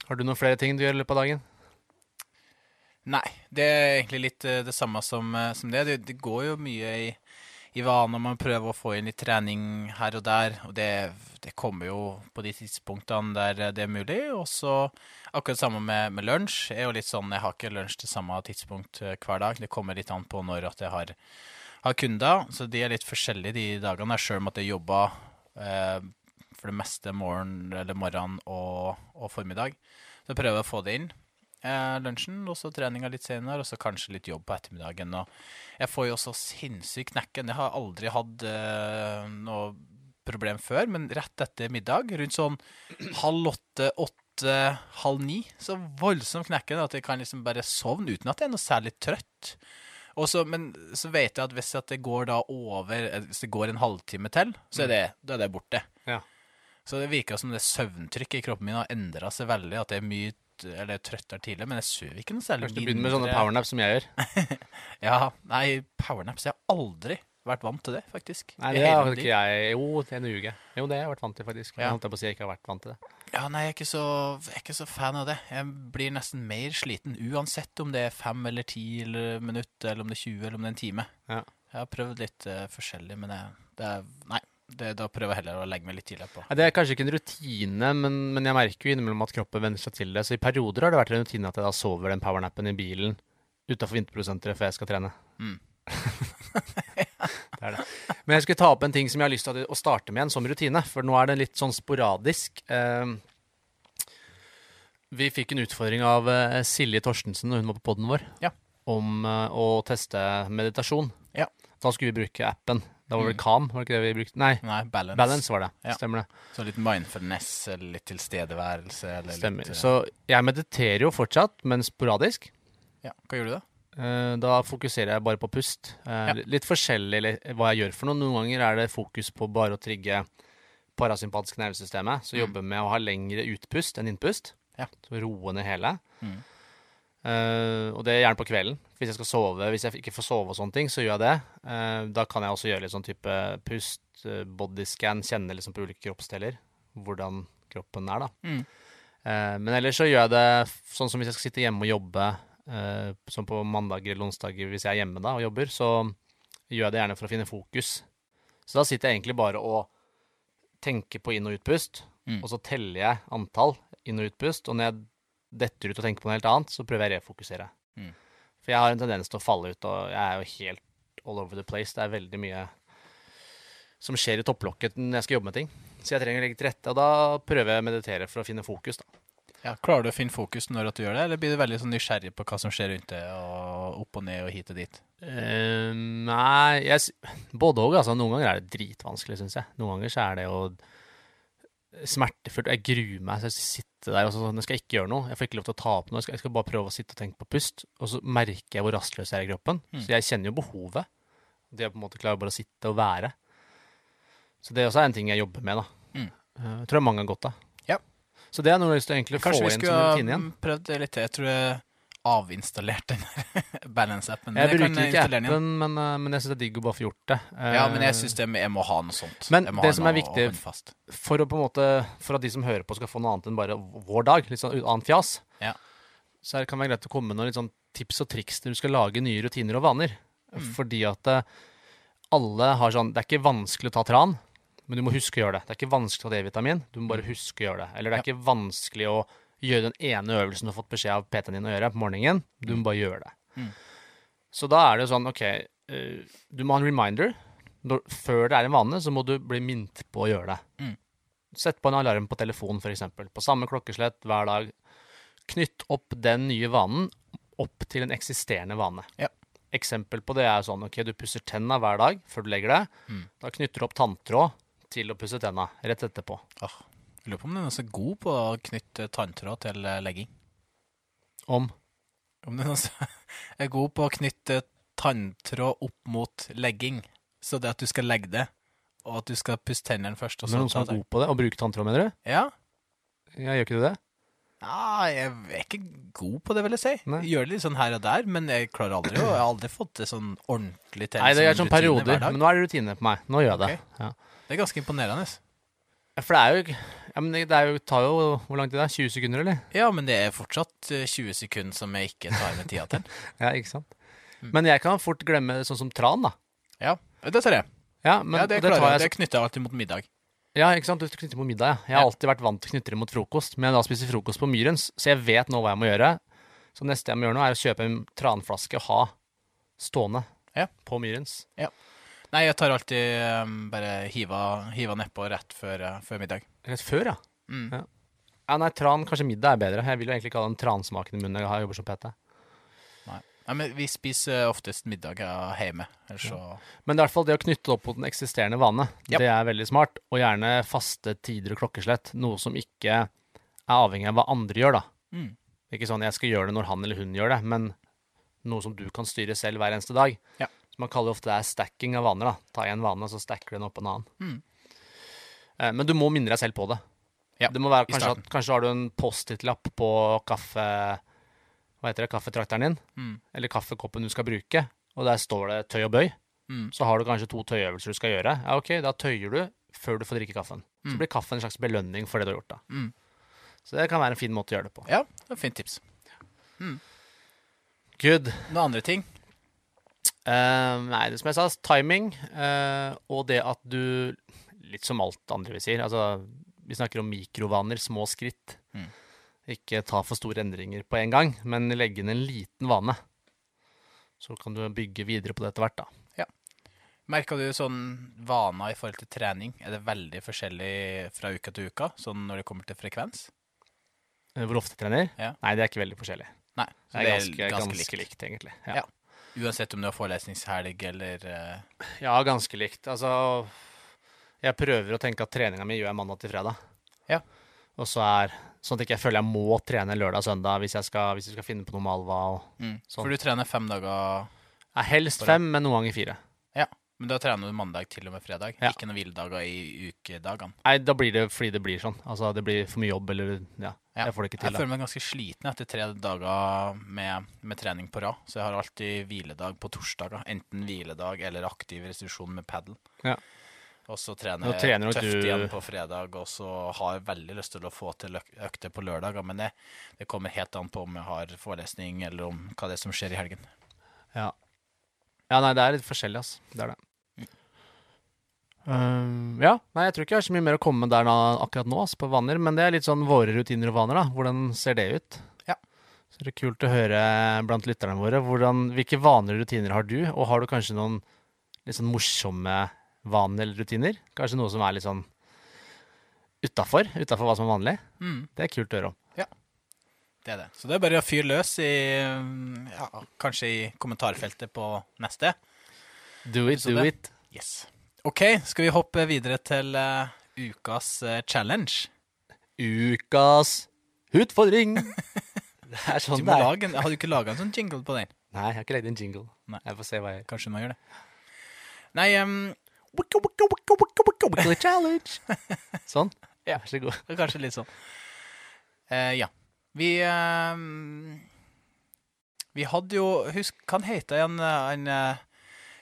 Har du noen flere ting du gjør i løpet av dagen?
Nei, det er egentlig litt eh, det samme som, eh, som det. det. Det går jo mye i, i vaner. Man prøver å få inn litt trening her og der, og det, det kommer jo på de tidspunktene der eh, det er mulig. Og så akkurat det samme med, med lunsj. Jeg er jo litt sånn, jeg har ikke lunsj til samme tidspunkt eh, hver dag. Det kommer litt an på når at jeg har, har kunder, så de er litt forskjellige de dagene. Selv om at jeg jobber eh, for det meste morgen, eller morgen og, og formiddag, så prøver jeg å få det inn eh, lunsjen, og så treninga litt senere, og så kanskje litt jobb på ettermiddagen. Og jeg får jo så sinnssyk knekken. Jeg har aldri hatt eh, noe problem før, men rett etter middag, rundt sånn halv åtte, åtte, halv ni, så voldsom knekken at jeg kan liksom bare sovne uten at jeg er noe særlig trøtt. Og så, men så vet jeg at hvis at det går da over eh, Hvis det går en halvtime til, så er det, da er det borte.
Ja.
Så det virker som det søvntrykket i kroppen min har endra seg veldig. At jeg er mye t- eller trøttere tidligere, men jeg sover ikke noe særlig
Kanskje du begynner med sånne
mindre.
powernaps som jeg gjør?
Ja, nei, powernaps. Jeg har aldri vært vant til det, faktisk.
Nei,
I
det
hele
har
mitt liv.
ikke jeg Jo, det er en uke. Jo, det har jeg vært vant til, faktisk.
Ja.
Jeg holdt på å si jeg ikke har vært vant til det.
Ja, nei, jeg er, ikke så, jeg er ikke så fan av det. Jeg blir nesten mer sliten uansett om det er fem eller ti eller minutt, eller om det er 20 eller om det er en time.
Ja.
Jeg har prøvd litt eh, forskjellig, men jeg, det er, nei, det, da prøver jeg heller å legge meg litt tidligere på.
Nei, det er kanskje ikke en rutine, men, men jeg merker jo innimellom at kroppen venner seg til det. Så i perioder har det vært en rutine at jeg da sover den powernappen i bilen utafor vinterprodusentere før jeg skal trene.
Mm.
det er det. Men jeg skulle ta opp en ting som jeg har lyst til å- å starte med igjen som rutine, for nå er det litt sånn sporadisk. Eh, vi fikk en utfordring av eh, Silje Torstensen når hun var på poden vår,
Ja.
om eh, å teste meditasjon.
Ja.
Da skulle vi bruke appen. Da var det
Mm.
Calm, var det ikke det vi brukte? Nei,
Nei, balance.
Balance var det.
Ja.
Stemmer det.
Så litt mindfulness, eller litt tilstedeværelse, eller
Stemmer.
litt eh,
Så jeg mediterer jo fortsatt, men sporadisk.
Ja, hva gjør du da?
Eh, Da fokuserer jeg bare på pust. Eh,
Ja.
Litt forskjellig li- hva jeg gjør for noe. Noen ganger er det fokus på bare å trigge parasympatisk nervesystemet. Så
Mm.
jobber med å ha lengre utpust enn innpust.
Ja.
Så roe ned hele.
Mm.
Eh, og det er gjerne på kvelden. Hvis jeg skal sove, hvis jeg ikke får sove og sånne ting, så gjør jeg det. Eh, da kan jeg også gjøre litt sånn type pust, eh, bodyscan, kjenne liksom på ulike kroppsdeler hvordan kroppen er, da.
Mm.
Eh, men ellers så gjør jeg det f- sånn som hvis jeg skal sitte hjemme og jobbe, eh, som på mandager eller onsdager hvis jeg er hjemme da og jobber, så gjør jeg det gjerne for å finne fokus. Så da sitter jeg egentlig bare og tenker på inn- og utpust,
Mm.
og så teller jeg antall inn- og utpust, og når jeg detter ut og tenker på noe helt annet, så prøver jeg å refokusere.
Mm.
For jeg har en tendens til å falle ut, og jeg er jo helt all over the place. Det er veldig mye som skjer i topplokket når jeg skal jobbe med ting. Så jeg trenger å legge til rette, og da prøver jeg å meditere for å finne fokus, da.
Ja, klarer du å finne fokus når at du gjør det, eller blir du veldig sånn nysgjerrig på hva som skjer rundt deg, og opp og ned og hit og dit?
Eh, nei, jeg, s- både òg. Altså, noen ganger er det dritvanskelig, syns jeg. Noen ganger så er det jo smertefullt. Jeg gruer meg til å sitte der og så sånn, jeg skal ikke gjøre noe. Jeg får ikke lov til å ta opp noe. Jeg skal, jeg skal bare prøve å sitte og tenke på pust. Og så merker jeg hvor rastløs jeg er i kroppen.
Mm.
Så jeg kjenner jo behovet. Det å på en måte klare bare å sitte og være. Så det også er en ting jeg jobber med, da.
Mm.
Eh, jeg tror jeg mange har godt av.
Ja.
Så det er noe jeg har lyst til å egentlig få
Kanskje vi
inn som
skulle
en
ha
rutine igjen.
mm, prøvd det litt til. Jeg tror jeg avinstallerte den her balance-appen. men mm,
Jeg
kan
bruker ikke
installere den igjen.
appen, men, eh, men jeg syns det er digg å bare få gjort det. Eh,
Ja, men jeg syns det- jeg må ha noe sånt.
Men
jeg må
det
ha
som
noe
er viktig-
å holde fast.
for å på en måte For at de som hører på skal få noe annet enn bare vår dag, litt sånn annet fjas,
Ja.
så her kan det være greit å komme med noen litt sånn tips og triks når du skal lage nye rutiner og vaner.
Mm.
Fordi at eh, alle har sånn Det er ikke vanskelig å ta tran, men du må huske å gjøre det. Det er ikke vanskelig å ta D-vitamin, du må
Mm.
bare huske å gjøre det. Eller det er ikke vanskelig å gjøre den ene øvelsen du har fått beskjed av PT-en din å gjøre på morgenen. Du må bare gjøre det.
Mm.
Så da er det jo sånn, OK, eh, du må ha en reminder. Når, før det er en vane, så må du bli minnet på å gjøre det. Sett på en alarm på telefon, f.eks. På samme klokkeslett hver dag. Knytt opp den nye vanen opp til en eksisterende vane.
Ja.
Eksempel på det er sånn ok, du pusser tenna hver dag før du legger deg.
Mm.
Da knytter du opp tanntråd til å pusse tenna rett etterpå.
Åh, jeg lurer på om den er så god på å knytte tanntråd til eh, legging.
Om
Om den også er god på å knytte tanntråd opp mot legging, så det at du skal legge det, og at du skal pusse tennene først. Og
det
så
er noen som
ta
er
det.
god på det, å bruke tanntråd, mener du?
Ja.
Ja, gjør ikke du det?
Ja, jeg er ikke god på det, vil jeg si.
Nei.
Jeg gjør det litt sånn her og der, men jeg klarer aldri å Jeg har aldri fått det sånn ordentlig til.
Nei, det er
som
sånn
en rutine
perioder.
hver dag.
Men nå er det rutine på meg. Nå gjør jeg det. Ja.
Det er ganske imponerende.
Ja, For det er jo ikke ja, men det er jo, tar jo Hvor lang tid det er 20 sekunder, eller?
Ja, men det er fortsatt eh, 20 sekunder som jeg ikke tar med tida til.
Ja, ikke sant?
Mm.
Men jeg kan fort glemme sånn som tran, da.
Ja, det tar jeg.
Ja, men
ja, det,
det
klarer
tar
jeg.
jeg
Det knytter jeg alltid mot middag.
Ja, ikke sant? Du knytter mot middag, ja. Jeg har
Ja.
alltid vært vant til å knytte det mot frokost, men jeg da spiser frokost på Myrens, så jeg vet nå hva jeg må gjøre. Så neste jeg må gjøre nå, er å kjøpe en tranflaske og ha stående
Ja.
på Myrens.
Nei, jeg tar alltid eh, bare hiva, hiva nedpå rett før, eh, før middag.
Rett før, ja.
Mm.
Ja. Ja, nei, tran, kanskje middag er bedre. Jeg vil jo egentlig ikke ha den transmaken i munnen når jeg har- jobber som PT.
Nei, men vi spiser oftest middag eh, hjemme, ellers så
Men det er i hvert fall det å knytte det opp mot den eksisterende vane,
Ja.
det er veldig smart. Og gjerne faste tider og klokkeslett, noe som ikke er avhengig av hva andre gjør, da.
mm.
Ikke sånn jeg skal gjøre det når han eller hun gjør det, men noe som du kan styre selv hver eneste dag.
Ja.
Så man kaller ofte det er stacking av vaner. da. Ta en vane, så stacker du den opp en annen.
Mm.
Eh, Men du må minne deg selv på det.
Ja,
det må være
i
kanskje, at, kanskje har du en post-it-lapp på kaffe, hva heter det, kaffetrakteren din,
Mm.
eller kaffekoppen du skal bruke, og der står det tøy og bøy.
Mm.
så har du kanskje to tøyeøvelser du skal gjøre. Ja, ok, Da tøyer du før du får drikke kaffen.
Mm.
Så blir kaffen en slags belønning for det du har gjort. da.
Mm.
Så det kan være en fin måte å gjøre det på.
Ja, det var et fint tips.
Good.
Noen andre ting?
Eh, nei, det som jeg sa, timing eh, og det at du Litt som alt andre vi sier. Altså, vi snakker om mikrovaner, små skritt.
Mm.
Ikke ta for store endringer på en gang, men legge inn en liten vane. Så kan du bygge videre på det etter hvert, da.
Merka du sånn vaner i forhold til trening? Er det veldig forskjellig fra uke til uke, sånn når det kommer til frekvens?
Eh, Hvor ofte jeg trener?
Ja.
Nei, det er ikke veldig forskjellig.
Nei, så
Det er ganske, ganske,
likt.
likt. egentlig. Ja.
Ja. Uansett om du har forelesningshelg eller eh,
Ja, ganske likt. Altså, jeg prøver å tenke at treninga mi gjør jeg mandag til fredag.
Ja.
Og så er Sånn at jeg ikke føler jeg må trene lørdag og søndag hvis jeg skal, hvis jeg skal finne på noe med Alva. Og,
mm.
Sånn.
For du trener fem dager,
ja, helst
Bare-
fem, men noen ganger fire.
men da trener du mandag til og med fredag.
Ja.
Ikke noen hviledager i ukedagene.
Nei, da blir det fordi det blir sånn. Altså, det blir for mye jobb, eller Ja,
Ja.
jeg får det
Jeg
ikke til. Da.
føler meg ganske sliten etter tre dager med, med trening på rad, så jeg har alltid hviledag på torsdager. Enten hviledag eller aktiv restitusjon med padel.
Ja.
Og så
Nå
trener jeg
trener nok
tøft
du-
igjen på fredag, og så har jeg veldig lyst til å få til øk- økter på lørdager, men det, det kommer helt an på om jeg har forelesning, eller om hva det er som skjer i helgen.
Ja, nei, det er litt forskjellig, ass. Det er det.
Ehm,
Um, ja, nei, jeg tror ikke jeg har så mye mer å komme med der nå, akkurat nå, ass, på vaner. Men det er litt sånn våre rutiner og vaner, da. Hvordan ser det ut?
Ja.
Så det er kult å høre blant lytterne våre. Hvordan, hvilke vaner og rutiner har du? Og har du kanskje noen litt sånn morsomme vaner eller rutiner? Kanskje noe som er litt sånn utafor? Utafor hva som er vanlig?
Mm.
Det er kult å høre om.
Det er det. Så det er bare å fyre løs i mm, ja, Kanskje i kommentarfeltet på neste.
Do it,
Så
do
det-
it.
Yes. OK, skal vi hoppe videre til eh, ukas eh, challenge?
Ukas utfordring. Det er
Du
sånn
må
det er.
lage en, har du ikke laga en sånn jingle på den?
Nei, jeg har ikke lagd en jingle.
Nei.
Jeg får se hva jeg
Kanskje du må gjøre det. Nei, em,
gjør. Challenge! Sånn.
Ja.
Vær så god.
det er kanskje litt sånn. Eh, ja. Vi em, Vi hadde jo Husk, hva han heter igjen eh, han eh,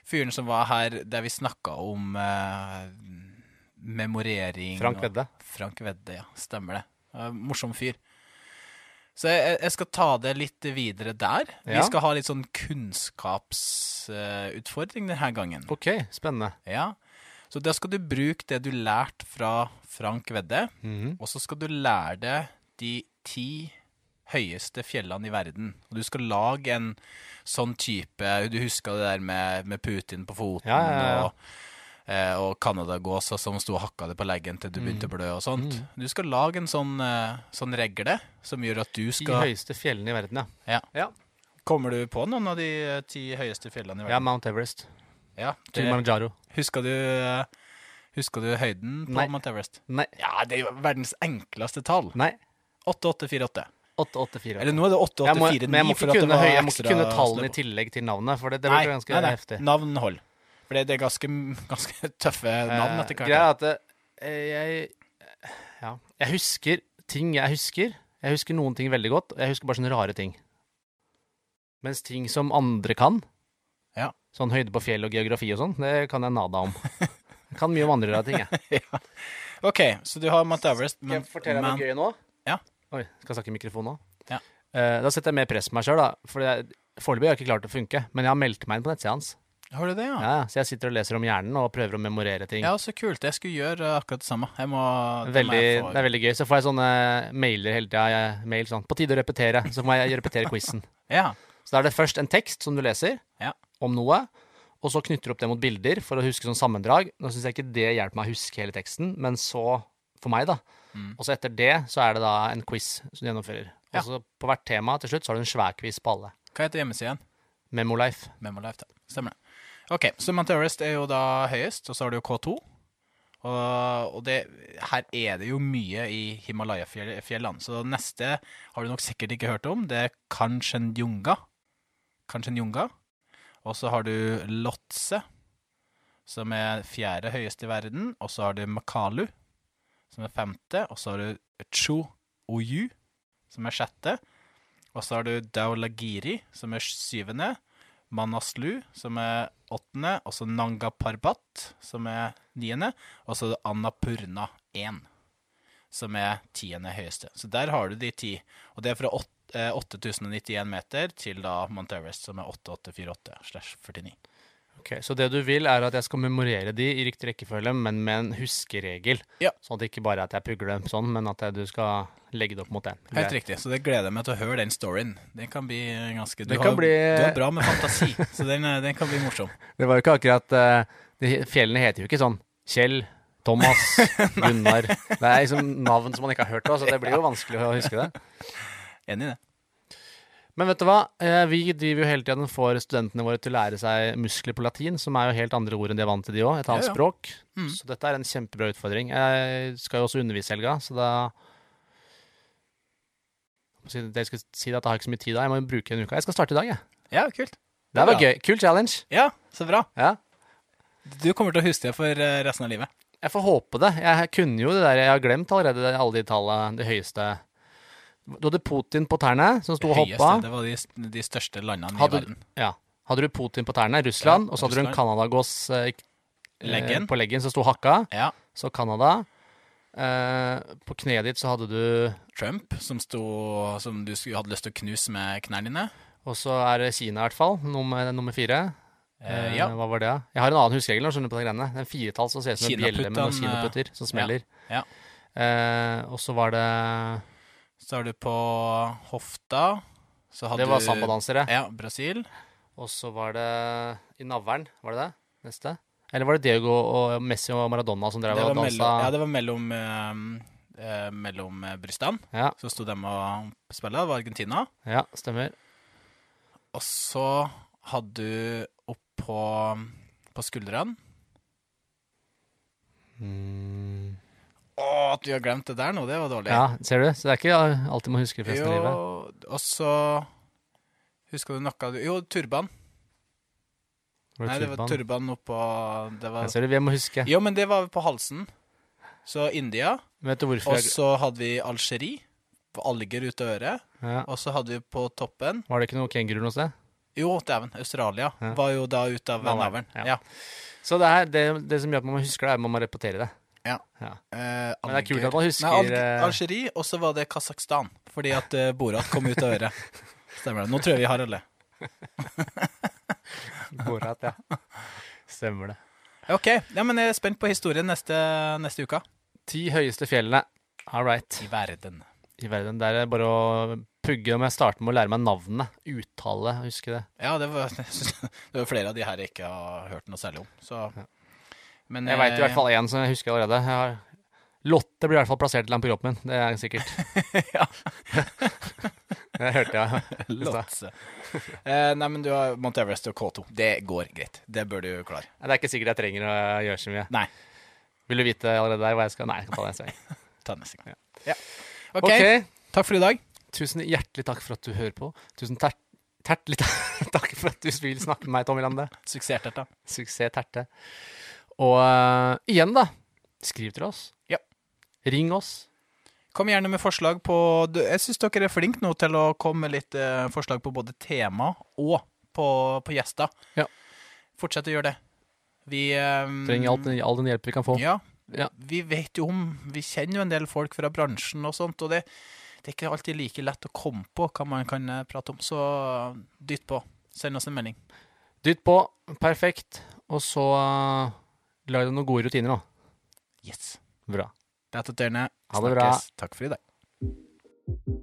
fyren som var her der vi snakka om eh, memorering
Frank
og-
Vedde.
Frank Vedde, ja. Stemmer det. Eh, morsom fyr. Så jeg, jeg skal ta det litt videre der.
Ja.
Vi skal ha litt sånn kunnskapsutfordring denne gangen.
OK, spennende.
Ja. Så da skal du bruke det du lærte fra Frank Vedde,
Mhm.
og så skal du lære deg de ti høyeste fjellene i verden. Og du skal lage en sånn type Du husker det der med, med Putin på foten
Ja, ja, ja.
og eh, og canadagåsa som sto og hakka det på leggen til du begynte å blø og sånt.
Mm.
Du skal lage en sånn, eh, sånn regle som gjør at du
De
skal
høyeste fjellene i verden, ja.
Kommer du på noen av de eh, ti høyeste fjellene i
Ja,
verden?
Mount Everest.
Ja, det,
Kilimanjaro.
husker du eh, Husker du høyden på
Nei.
Mount Everest?
Nei.
Ja, det er jo verdens enkleste tall.
Nei.
8848.
884.
Eller nå er det
Jeg må, men jeg
8849
må ikke kunne, høy, jeg må ikke kunne tallene i tillegg til navnet, for det, det blir ganske heftig.
Navn hold. For det, det er ganske, ganske tøffe navn
Eh,
etter
Greia
hvert.
er at det, eh, jeg Ja. Jeg husker ting jeg husker. Jeg husker noen ting veldig godt, og jeg husker bare sånne rare ting. Mens ting som andre kan,
Ja.
sånn høyde på fjell og geografi og sånn, det kan jeg nada om. Jeg kan mye om andre rare ting, jeg.
OK, så du har Mount Everest. men- men-
gøy nå?
Ja.
Oi, skal jeg snakke i mikrofon nå?
Ja.
Eh, da setter jeg mer press på meg sjøl, da. For jeg- foreløpig har jeg ikke klart å funke. Men jeg har meldt meg inn på nettsida hans.
Har du det, ja?
Ja, ja, så jeg sitter og leser om hjernen og prøver å memorere ting.
Ja, så kult. Jeg skulle gjøre eh, akkurat det samme. Jeg må, det må
Veldig,
jeg få-
det er veldig gøy. Så får jeg sånne mailer hele tida. jeg- Mail sånn På tide å repetere. Så må jeg repetere quizen.
Ja.
Så da er det først en tekst som du leser
Ja.
om noe, og så knytter du opp det mot bilder for å huske sånn sammendrag. Nå syns jeg ikke det hjelper meg å huske hele teksten, men så for meg, da.
Mm.
Og så etter det så er det da en quiz som du gjennomfører.
Ja.
Og så på hvert tema til slutt så har du en svær quiz på alle.
Hva heter hjemmesiden?
Memolife.
Memolife, da. Stemmer det. OK, så Mount Everest er jo da høyest, og så har du jo K2. Og, og det, her er det jo mye i Himalaya-fjellene, så neste har du nok sikkert ikke hørt om. Det er Kanchenjunga. Kanchenjunga. Og så har du Lotse, som er fjerde høyeste i verden. Og så har du Makalu, som er femte. Og så har du Chu Oyu, som er sjette. Og så har du Daulagiri, som er syvende. Manaslu, som er åttende, og så Nanga Parbat, som er niende, og så Annapurna 1, som er tiende høyeste. Så der har du de ti. Og det er fra åt- eh, 8091 meter til da Mount Everest, som er 8848 slash 49.
Ok, Så det du vil, er at jeg skal memorere de i riktig rekkefølge, men med en huskeregel.
Ja.
Sånn at det ikke bare er at jeg pugler dem sånn, men at jeg, du skal legge det opp mot den.
Helt riktig. Så det gleder jeg meg til å høre den storyen. Den kan bli ganske Du,
Det
har,
kan bli-
du har bra med fantasi, så den, eh, den kan bli morsom.
Det var jo ikke akkurat eh, de, Fjellene heter jo ikke sånn Kjell, Thomas, Gunnar. Det er liksom navn som man ikke har hørt av, så det blir jo vanskelig å huske det.
Enig i det.
Men vet du hva? Eh, Vi driver jo hele tiden og får studentene våre til å lære seg muskler på latin, som er jo helt andre ord enn de er vant til, de òg. Et annet
Ja, ja.
språk.
Mm.
Så dette er en kjempebra utfordring. Jeg skal jo også undervise i helga, så da Jeg må si- jeg skal si at jeg har ikke så mye tid da. Jeg må jo bruke en uke. Jeg skal starte i dag, jeg.
Ja, kult.
Det
Bra.
var gøy. Kul challenge.
Ja, så bra.
Ja.
Du kommer til å huske det for eh, resten av livet.
Jeg får håpe det. Jeg kunne jo det der. Jeg har glemt allerede det- alle de tallene, det høyeste Du hadde Putin på tærne, som sto og
Det høyeste,
hoppa.
Det var de, de største landene
Hadde-
i verden.
Ja. Hadde du Putin på tærne, Russland,
Ja,
og så hadde du en
Russland.
Canadagås eh,
Leggen.
eh, på leggen som sto hakka.
Ja.
Så Canada. Eh, på kneet ditt så hadde du
Trump, som, sto, som du skulle- hadde lyst til å knuse med knærne dine.
Og så er det Kina, i hvert fall. Nummer, nummer fire.
Eh, ja.
Hva var det? da? Jeg har en annen huskeregel. når jeg skjønner på Det greiene. Det er en firetall som ser ut som en bjelle med noen
Kinaputtene,
kinaputter som smeller.
eh, ja,
Eh, og så var det
Så har du på hofta så hadde
Det var
du-
sambadansere.
Ja, Brasil.
Og så var det i navlen, var det det? Neste? Eller var det Diego og Messi og Maradona som
Det
drev
var,
og
mellom, ja,
dansa?
det var mellom, eh, eh, mellom eh, brystene.
Ja,
Så sto de og spilte. Det var Argentina.
ja, stemmer.
Og så hadde du opp på, på skuldrene
Mm.
Å, at vi har glemt det der nå, det var dårlig.
Ja, ser du? Så det er ikke alt du må huske resten av livet.
Jo, og så Husker du noe du Jo, turban.
Var
Nei,
det
det var
turban?
turban oppå det
Ja,
var...
ser du, vi må huske.
Jo, men det var på halsen. Så India.
Vet du hvorfor
Og
jeg...
så hadde vi Algerie. På alger ut av øret.
ja.
Og så hadde vi på toppen
Var det ikke noe kenguru noe sted?
Jo, dæven, Australia
Ja.
var jo da ut av
Navlen,
navlen.
ja.
Ja.
Så det, her, det, det som gjør at man husker det, er at man må repetere det.
Eh,
Men det er kult
alger-
at man husker
Nei,
eh,
Alg- Algerie, og så var det Kasakhstan. Fordi at eh, Borat kom ut av øret. Stemmer det. Nå tror jeg vi har alle.
Borat, ja. Stemmer det.
OK. Ja, men jeg er spent på historien neste, neste uke.
Ti høyeste fjellene. All right.
I verden.
I verden. Det er bare å pugge om jeg starter med å lære meg navnene. Uttale, huske det.
Ja, det var, jeg synes, det var flere av de her jeg ikke har hørt noe særlig om. Så. Men
Jeg veit i
eh,
hvert fall én som jeg husker allerede. Jeg har... Lotte blir i hvert fall plassert til ham på kroppen min. Det er sikkert.
Ja.
det hørte jeg. i stad.
Lotse. eh, nei, men du har Mount Everest og K2. Det går greit. Det bør du klare.
Nei, Det er ikke sikkert jeg trenger å gjøre så mye.
Nei.
Vil du vite allerede der hva jeg skal Nei, jeg kan ta det neste gang.
Ta det neste gang.
Ja.
Ja. OK.
Ok.
Takk for i dag.
Tusen hjertelig takk for at du hører på. Tusen ter- tertelig ta- takk for at du vil snakke med meg, Tommy Lande.
Suksessterta.
Suksess terte. Og eh, igjen, da. Skriv til oss.
Ja.
Ring oss.
Kom gjerne med forslag på du- Jeg syns dere er flinke nå til å komme med litt eh, forslag på både tema og på, på gjester.
Ja.
Fortsett å gjøre det. Vi eh,
Trenger alt, den- all den hjelp vi kan få.
Ja.
Ja.
Vi vet jo om Vi kjenner jo en del folk fra bransjen og sånt, og det, det er ikke alltid like lett å komme på hva man kan eh, prate om, så eh, dytt på. Send oss en melding.
Dytt på. Perfekt. Og så eh, lag deg noen gode rutiner nå.
Yes.
Bra.
Det er Taterne.
Ha det bra.
Takk for i dag.